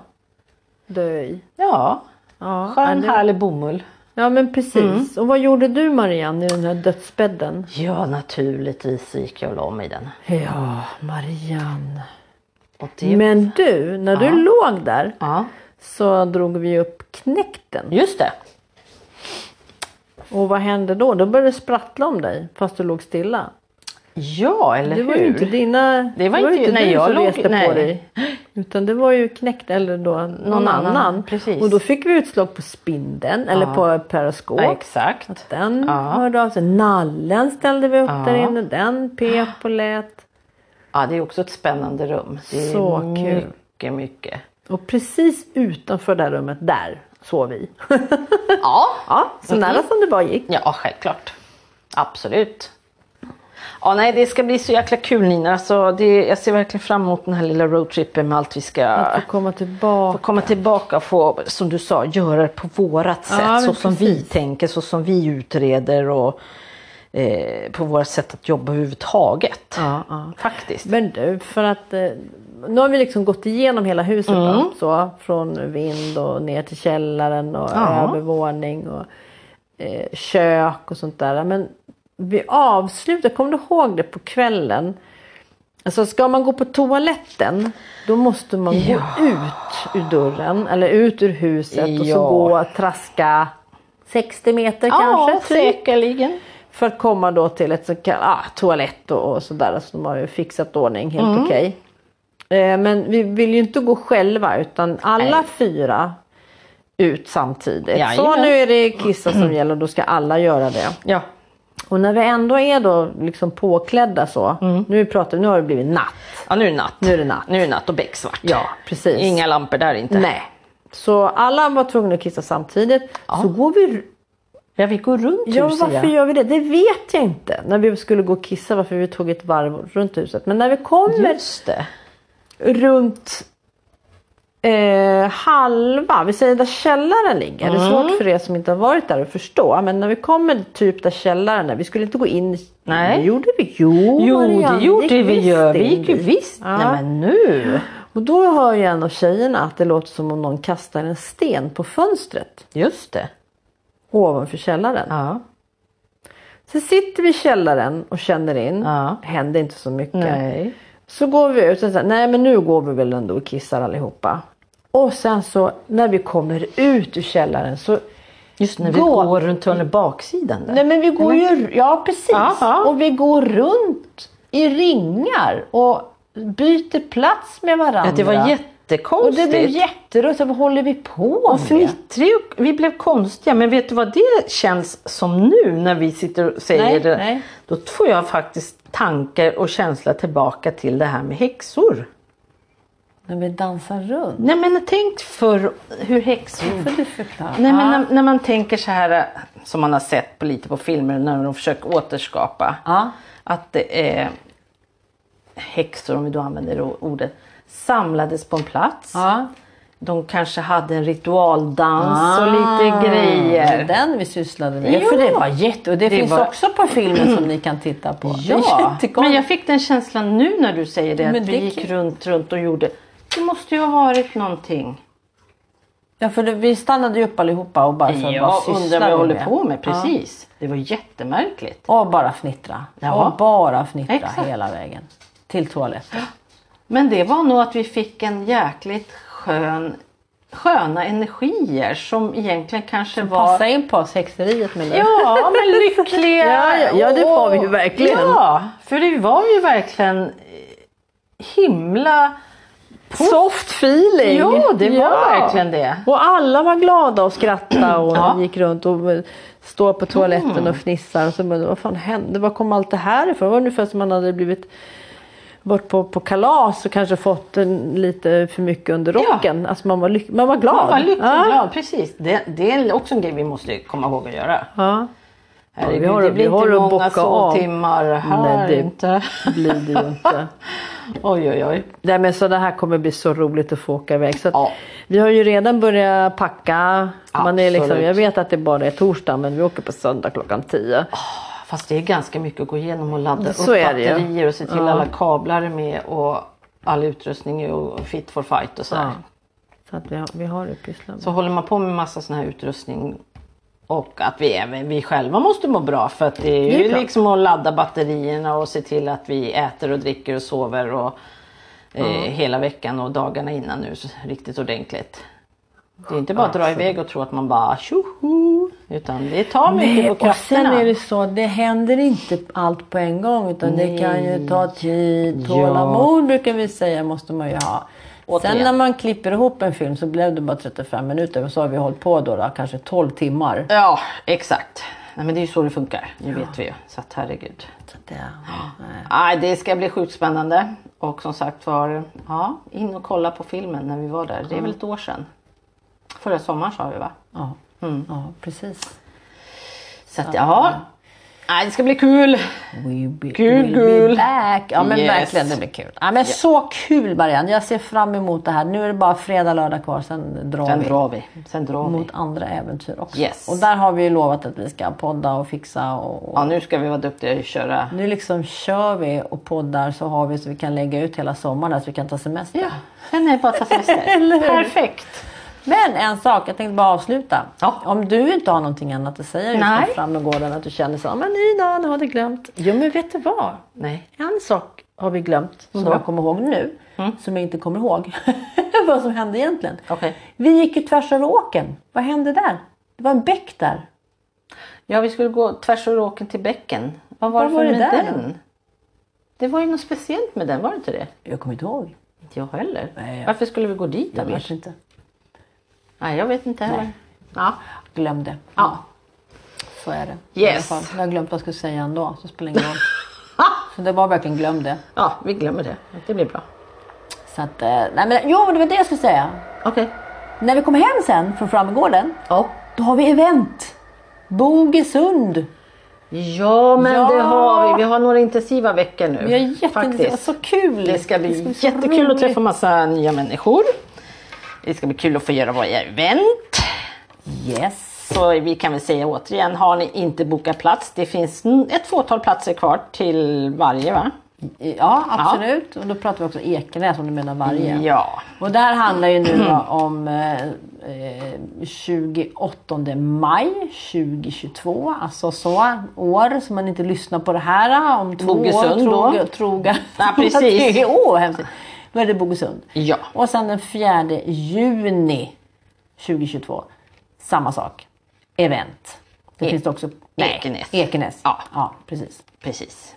Speaker 1: Dö i.
Speaker 2: ja,
Speaker 1: Ja,
Speaker 2: skön
Speaker 1: ja, det-
Speaker 2: härlig bomull.
Speaker 1: ja men
Speaker 2: Mm.
Speaker 1: precis. Och vad gjorde du Marianne i den här dödsbädden?
Speaker 2: Ja, naturligtvis så gick jag och la mig i den.
Speaker 1: Ja Marianne.
Speaker 2: Och det...
Speaker 1: Men du, när du låg där
Speaker 2: Ja,
Speaker 1: så drog vi upp knäkten.
Speaker 2: just det.
Speaker 1: Och vad hände då? Då började det sprattla om dig fast du låg stilla.
Speaker 2: Ja, eller
Speaker 1: Det
Speaker 2: hur?
Speaker 1: var ju inte dina... Det
Speaker 2: var inte-
Speaker 1: du
Speaker 2: nej, jag
Speaker 1: som
Speaker 2: låg-
Speaker 1: reste på
Speaker 2: nej.
Speaker 1: dig. Utan det var ju knäckt eller då någon,
Speaker 2: annan,
Speaker 1: annan.
Speaker 2: precis.
Speaker 1: Och då fick vi utslag på spindeln eller på periskop.
Speaker 2: ja, exakt.
Speaker 1: Den
Speaker 2: Ja.
Speaker 1: hörde av sig. Nallen ställde vi upp
Speaker 2: Ja.
Speaker 1: där inne. Den pep och lät.
Speaker 2: Ja, det är också ett spännande rum. Det är
Speaker 1: Så
Speaker 2: mycket,
Speaker 1: kul.
Speaker 2: Mycket, mycket.
Speaker 1: Och precis utanför det här rummet, där sov vi.
Speaker 2: Ja,
Speaker 1: ja, så nära som det bara gick.
Speaker 2: ja, självklart. Absolut. Ja, nej, det ska bli så jäkla kul Nina. Alltså, det, jag ser verkligen fram emot den här lilla roadtrippen med allt vi ska
Speaker 1: Att få komma tillbaka.
Speaker 2: komma tillbaka och få, som du sa, göra det på vårat sätt.
Speaker 1: men
Speaker 2: så som vi
Speaker 1: precis.
Speaker 2: tänker, så som vi utreder och eh, på våra sätt att jobba överhuvudtaget.
Speaker 1: Ja, ja.
Speaker 2: Faktiskt.
Speaker 1: Men du, för att eh, nu har vi liksom gått igenom hela huset
Speaker 2: Mm.
Speaker 1: då, så, från vind och ner till källaren och
Speaker 2: Ja.
Speaker 1: övervåning och eh, kök och sånt där. Men vi avslutar, kommer du ihåg det på kvällen? Alltså ska man gå på toaletten då måste man gå ut ur dörren eller ut ur huset och
Speaker 2: Ja.
Speaker 1: så gå och traska 60 meter kanske. typ.
Speaker 2: säkerligen.
Speaker 1: För att komma då till ett så kallat ah, toalett och, och sådär. Alltså de har ju fixat ordning helt okej. Eh, men vi vill ju inte gå själva utan alla fyra ut samtidigt. Så
Speaker 2: Jajamän.
Speaker 1: nu är det kissa som gäller och då ska alla göra det.
Speaker 2: Ja.
Speaker 1: Och när vi ändå är då liksom påklädda så. Nu pratar vi, nu har det blivit natt.
Speaker 2: ja, nu är det natt.
Speaker 1: Mm. Nu är det natt.
Speaker 2: Nu är det natt och becksvart.
Speaker 1: Ja, precis.
Speaker 2: Inga lampor där inte.
Speaker 1: Nej. Så alla var tvungna att kissa samtidigt. Så går vi
Speaker 2: Ja, vi går runt
Speaker 1: Ja,
Speaker 2: huset.
Speaker 1: varför gör vi det? Det vet jag inte. När vi skulle gå och kissa varför vi tog ett varv runt huset. Men när vi kommer
Speaker 2: Just det.
Speaker 1: runt eh, halva, vi säger där källaren ligger. Det är
Speaker 2: Mm.
Speaker 1: svårt för er som inte har varit där att förstå. Men när vi kommer typ där källaren är, vi skulle inte gå in. i-
Speaker 2: Nej.
Speaker 1: Det gjorde vi. Jo,
Speaker 2: Jo,
Speaker 1: Marianne,
Speaker 2: det gjorde
Speaker 1: gick
Speaker 2: vi
Speaker 1: visst
Speaker 2: ju. Vi
Speaker 1: in
Speaker 2: gick ju
Speaker 1: dit.
Speaker 2: visst.
Speaker 1: Ja.
Speaker 2: Nej, men nu.
Speaker 1: Och då hör ju en av tjejerna att det låter som om någon kastar en sten på fönstret
Speaker 2: Just det.
Speaker 1: ovanför källaren.
Speaker 2: Ja.
Speaker 1: Så sitter vi i källaren och känner in.
Speaker 2: Ja.
Speaker 1: Händer inte så mycket.
Speaker 2: Nej.
Speaker 1: Så går vi ut och säger nej men nu går vi väl ändå och kissar allihopa. Och sen så när vi kommer ut ur källaren så
Speaker 2: Just när vi
Speaker 1: Gå.
Speaker 2: går runt hörnet baksidan där.
Speaker 1: Nej men vi går ju, ja precis.
Speaker 2: Ja, ja.
Speaker 1: Och vi går runt i ringar och byter plats med varandra.
Speaker 2: Ja, det var
Speaker 1: Och
Speaker 2: jättekonstigt.
Speaker 1: det blev jätteroligt. Så Vad håller vi på
Speaker 2: Och
Speaker 1: med?
Speaker 2: fnittrig och vi blev konstiga. Men vet du vad det känns som nu när vi sitter och säger
Speaker 1: Nej,
Speaker 2: det?
Speaker 1: nej.
Speaker 2: Då får jag faktiskt tankar och känsla tillbaka till det här med häxor.
Speaker 1: När vi dansar runt.
Speaker 2: Nej men tänk för hur häxor...
Speaker 1: Får du förklara?
Speaker 2: Nej men när, när man tänker så här eh, som man har sett på lite på filmer när de försöker återskapa.
Speaker 1: Ja.
Speaker 2: Att det är häxor, om vi då använder det ordet, samlades på en plats.
Speaker 1: Ja.
Speaker 2: De kanske hade en ritualdans och
Speaker 1: Ah,
Speaker 2: lite
Speaker 4: Det är
Speaker 2: grejer.
Speaker 4: den vi sysslade med.
Speaker 2: Ja.
Speaker 4: För det var jätte... Och det,
Speaker 2: Det
Speaker 4: finns
Speaker 2: var-
Speaker 4: också på filmen som ni kan titta på. Det är
Speaker 2: Ja,
Speaker 4: jättekonstigt.
Speaker 2: men jag fick den känslan nu när du säger det.
Speaker 4: Men
Speaker 2: att vi
Speaker 4: det
Speaker 2: gick
Speaker 4: kan-
Speaker 2: runt, runt och gjorde. Det måste ju ha varit någonting.
Speaker 1: Ja, för det, vi stannade ju upp allihopa och bara för att
Speaker 2: Jag
Speaker 1: vad
Speaker 2: undrar vad
Speaker 1: sysslar vi
Speaker 2: jag håller
Speaker 1: med?
Speaker 2: på med. Precis. Det var jättemärkligt.
Speaker 1: Och bara fnittra.
Speaker 2: Ja.
Speaker 1: Och bara fnittra
Speaker 2: Exakt.
Speaker 1: hela vägen. Till toaletten.
Speaker 2: Men det var nog att vi fick en jäkligt skön, sköna energier som egentligen kanske var...
Speaker 1: Passa in på sexeriet med det.
Speaker 2: Ja, men lyckliga.
Speaker 5: Ja, ja, ja, det var vi ju
Speaker 2: Och-
Speaker 5: verkligen.
Speaker 2: Ja, för det var ju verkligen eh, himla...
Speaker 5: Soft feeling!
Speaker 2: Ja, det var
Speaker 5: Ja.
Speaker 2: verkligen det.
Speaker 5: Och alla var glada och skrattade och
Speaker 2: Ja. Mm.
Speaker 5: gick runt och eh, står på toaletten och fnissar. Och så, bara, vad fan hände? Var kom allt det här ifrån? Det var ungefär som man hade blivit varit på, på kalas och kanske fått en, lite för mycket under
Speaker 2: Ja.
Speaker 5: rocken. Alltså man var, lyck, man var glad.
Speaker 2: Man var lycklig
Speaker 5: ja.
Speaker 2: och glad, precis. Det, det är också en grej vi måste komma ihåg att göra.
Speaker 5: Ja.
Speaker 2: Herregud,
Speaker 5: vi har-
Speaker 2: det blir
Speaker 5: vi har
Speaker 2: inte
Speaker 5: att
Speaker 2: många
Speaker 5: bocka av.
Speaker 2: sovtimmar här
Speaker 5: Nej, det-
Speaker 2: inte.
Speaker 5: Blir det ju inte.
Speaker 2: Oj, oj, oj.
Speaker 5: Nej men så det här kommer bli så roligt att få åka iväg. Så att
Speaker 2: Ja.
Speaker 5: Vi har ju redan börjat packa. Man är liksom,
Speaker 2: Absolut.
Speaker 5: jag vet att det bara är torsdag men vi åker på söndag klockan 10.
Speaker 2: Fast det är ganska mycket att gå igenom och ladda
Speaker 5: Så
Speaker 2: upp
Speaker 5: är det ju.
Speaker 2: batterier och se till alla kablar är med och all utrustning är och fit for fight och sådär.
Speaker 5: Ja. Så att vi har, vi har det att pyssla med.
Speaker 2: Så håller man på med massa sån här utrustning och att vi, även, vi själva måste må bra för att det är
Speaker 5: Det är
Speaker 2: ju
Speaker 5: klart.
Speaker 2: liksom att ladda batterierna och se till att vi äter och dricker och sover och eh, hela veckan och dagarna innan nu så riktigt ordentligt. Det är inte bara att dra iväg och tro att man bara tjoho utan det tar mycket på
Speaker 1: och sen
Speaker 2: krafterna.
Speaker 1: är det så, det händer inte allt på en gång utan det kan ju ta tid. Tålamod brukar vi säga måste man ju ha. Sen
Speaker 2: Återigen.
Speaker 1: när man klipper ihop en film så blev det bara 35 minuter och så har vi hållit på då, då kanske 12 timmar.
Speaker 2: Ja exakt. Nej, men det är ju så det funkar, det vet vi ju. Så att herregud.
Speaker 1: Så att det-
Speaker 2: Nej, det ska bli sjukt spännande. Och som sagt var, ja, in och kolla på filmen när vi var där. Det är väl ett år sedan. Förra sommaren sa vi va?
Speaker 1: Ja, ja precis.
Speaker 2: Så att ja. Nej, det ska bli kul.
Speaker 1: We be,
Speaker 2: Kul,
Speaker 1: we'll
Speaker 2: kul.
Speaker 1: Be back. Ja men
Speaker 2: Yes.
Speaker 1: verkligen, det blir kul. Ja, men Så kul Marianne, jag ser fram emot det här. Nu är det bara fredag, lördag kvar, sen drar
Speaker 2: Sen
Speaker 1: vi.
Speaker 2: drar vi. Sen drar vi.
Speaker 1: mot andra äventyr också.
Speaker 2: Yes.
Speaker 1: Och där har vi ju lovat att vi ska podda och fixa. Och, och
Speaker 2: Ja, nu ska vi vara duktiga och köra.
Speaker 1: Nu liksom kör vi och poddar så har vi så vi kan lägga ut hela sommaren där så vi kan ta semester.
Speaker 2: Ja, sen är det bara att ta semester.
Speaker 1: Eller hur?
Speaker 2: Perfekt.
Speaker 1: Men en sak, jag tänkte bara avsluta.
Speaker 2: Ja.
Speaker 1: Om du inte har någonting annat att säga just
Speaker 2: Nej.
Speaker 1: nu fram med gården att du känner så här, men
Speaker 5: Ida, nu har du glömt. Jo men vet du vad?
Speaker 2: Nej.
Speaker 5: En sak har vi glömt.
Speaker 1: som jag kommer ihåg nu, som jag inte kommer ihåg vad som hände egentligen.
Speaker 2: Mm. Okej.
Speaker 1: Vi gick ju tvärs över åken. Vad hände där? Det var en bäck där.
Speaker 2: Ja, vi skulle gå tvärs över åken till bäcken. Vad var
Speaker 1: Vad
Speaker 2: det
Speaker 1: var
Speaker 2: för
Speaker 1: det
Speaker 2: med
Speaker 1: där då?
Speaker 2: den? Det var ju något speciellt med den, var det inte det?
Speaker 1: Jag kommer inte ihåg.
Speaker 2: Inte jag heller.
Speaker 1: Nej, jag-
Speaker 2: Varför skulle vi gå dit
Speaker 1: Jag
Speaker 2: annars?
Speaker 1: vet inte.
Speaker 2: Nej, jag vet inte heller. Ja.
Speaker 1: Glömde.
Speaker 2: ja.
Speaker 1: Så är det.
Speaker 2: Yes.
Speaker 1: I alla fall. Jag har glömt vad jag skulle säga ändå, så det spelar ingen roll. så det var verkligen glöm det.
Speaker 2: Ja, vi glömmer det. Det blir bra.
Speaker 1: Så att, eh, nej men, jo, det var det jag skulle säga.
Speaker 2: Okej.
Speaker 1: När vi kommer hem sen från Frammegården,
Speaker 2: Ja.
Speaker 1: då har vi event. Bogesund.
Speaker 2: Ja, men
Speaker 1: Ja.
Speaker 2: det har vi. Vi har några intensiva veckor nu.
Speaker 1: Vi har jätteintresserade.
Speaker 2: Faktiskt.
Speaker 1: Så kul!
Speaker 2: Det ska bli
Speaker 1: så
Speaker 2: jättekul att
Speaker 1: roligt.
Speaker 2: träffa massa nya människor. Det ska bli kul att få göra våra event.
Speaker 1: Yes.
Speaker 2: Så vi kan väl säga återigen, har ni inte bokat plats, det finns n- ett fåtal platser kvar till varje va?
Speaker 1: Ja, absolut. Och då pratar vi också Ekenäs om du menar varje.
Speaker 2: Ja.
Speaker 1: Och det här handlar ju nu
Speaker 2: Mm.
Speaker 1: då om eh, eh, 28 maj 2022. Alltså så år som man inte lyssnar på det här. eh, Om två
Speaker 2: Bogesund
Speaker 1: år.
Speaker 2: då.
Speaker 1: Troga, troga,
Speaker 2: Ja, precis.
Speaker 1: Tre år hemskt. Då är det Bogesund.
Speaker 2: Ja.
Speaker 1: Och sen den 4 juni 2022. Samma sak. Event. Det
Speaker 2: E-
Speaker 1: finns det också.
Speaker 2: Ekenäs.
Speaker 1: Ekenäs.
Speaker 2: Ja.
Speaker 1: ja, precis.
Speaker 2: Precis.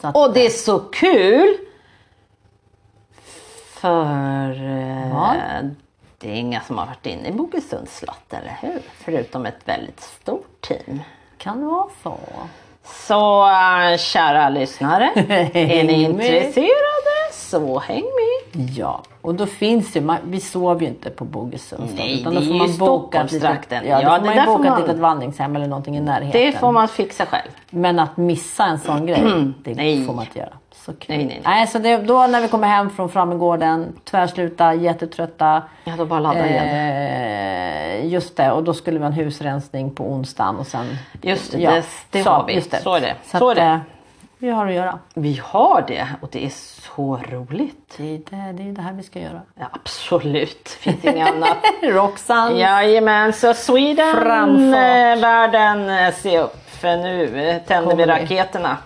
Speaker 1: Så att-
Speaker 2: Och det är så kul! För eh,
Speaker 1: Ja.
Speaker 2: det är inga som har varit inne i Bogesunds slott, eller hur? Förutom ett väldigt stort team.
Speaker 1: Kan vara så.
Speaker 2: Så eh, kära lyssnare, är
Speaker 1: Häng med.
Speaker 2: ni intresserade så häng med!
Speaker 1: Ja, och då finns det man, vi sov ju inte på Bogesunds slott,
Speaker 2: Nej,
Speaker 1: då
Speaker 2: det är ju
Speaker 1: ett litet,
Speaker 2: Stockholmstrakten.
Speaker 1: ja, då
Speaker 2: Ja,
Speaker 1: får
Speaker 2: det
Speaker 1: man
Speaker 2: där
Speaker 1: ju
Speaker 2: får
Speaker 1: boka ett
Speaker 2: man-
Speaker 1: litet vandringshem eller någonting i närheten.
Speaker 2: Det får man fixa själv.
Speaker 1: Men att missa en sån grej, det
Speaker 2: Mm. Nej.
Speaker 1: får man inte göra. Så kul.
Speaker 2: Nej, nej, nej.
Speaker 1: så det, då när vi kommer hem från Frammegården, tvärsluta, jättetrötta.
Speaker 2: Ja, då bara ladda igen.
Speaker 1: Eh, just det, och då skulle vi ha en husrensning på onsdagen och sen...
Speaker 2: Just det,
Speaker 1: ja,
Speaker 2: det, det
Speaker 1: så,
Speaker 2: har vi.
Speaker 1: just det.
Speaker 2: Så är det.
Speaker 1: Så
Speaker 2: Så är
Speaker 1: att,
Speaker 2: det.
Speaker 1: eh, Vi har att göra.
Speaker 2: Vi har det och det är så roligt.
Speaker 1: Det är det, det, är det här vi ska göra.
Speaker 2: Ja, absolut, finns inget annat.
Speaker 1: Roxanne!
Speaker 2: Jajamän, så Sweden,
Speaker 1: Framfart.
Speaker 2: eh, världen, eh, se upp för nu eh, tänder vi
Speaker 1: Kommer vi.
Speaker 2: raketerna.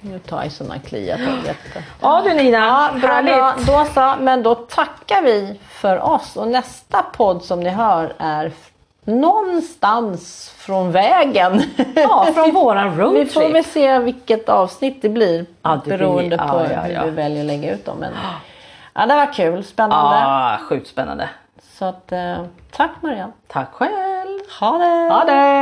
Speaker 1: Nu tar jag såna kliar på jätte.
Speaker 2: Ja du Nina,
Speaker 1: Bra, bra.
Speaker 2: härligt.
Speaker 1: Då så, men då tackar vi för oss och nästa podd som ni hör är f- någonstans från vägen.
Speaker 2: Ja, från våran
Speaker 1: Vi får
Speaker 2: roadtrip.
Speaker 1: väl se vilket avsnitt det blir
Speaker 2: Ja, det blir-
Speaker 1: beroende
Speaker 2: ja,
Speaker 1: på
Speaker 2: ja, ja.
Speaker 1: hur vi väljer att lägga ut dem. Men, ja, det var kul, spännande.
Speaker 2: Ja, sjukt spännande.
Speaker 1: Så att, eh, tack Marianne.
Speaker 2: Tack själv.
Speaker 1: Ha det!
Speaker 2: Ha det!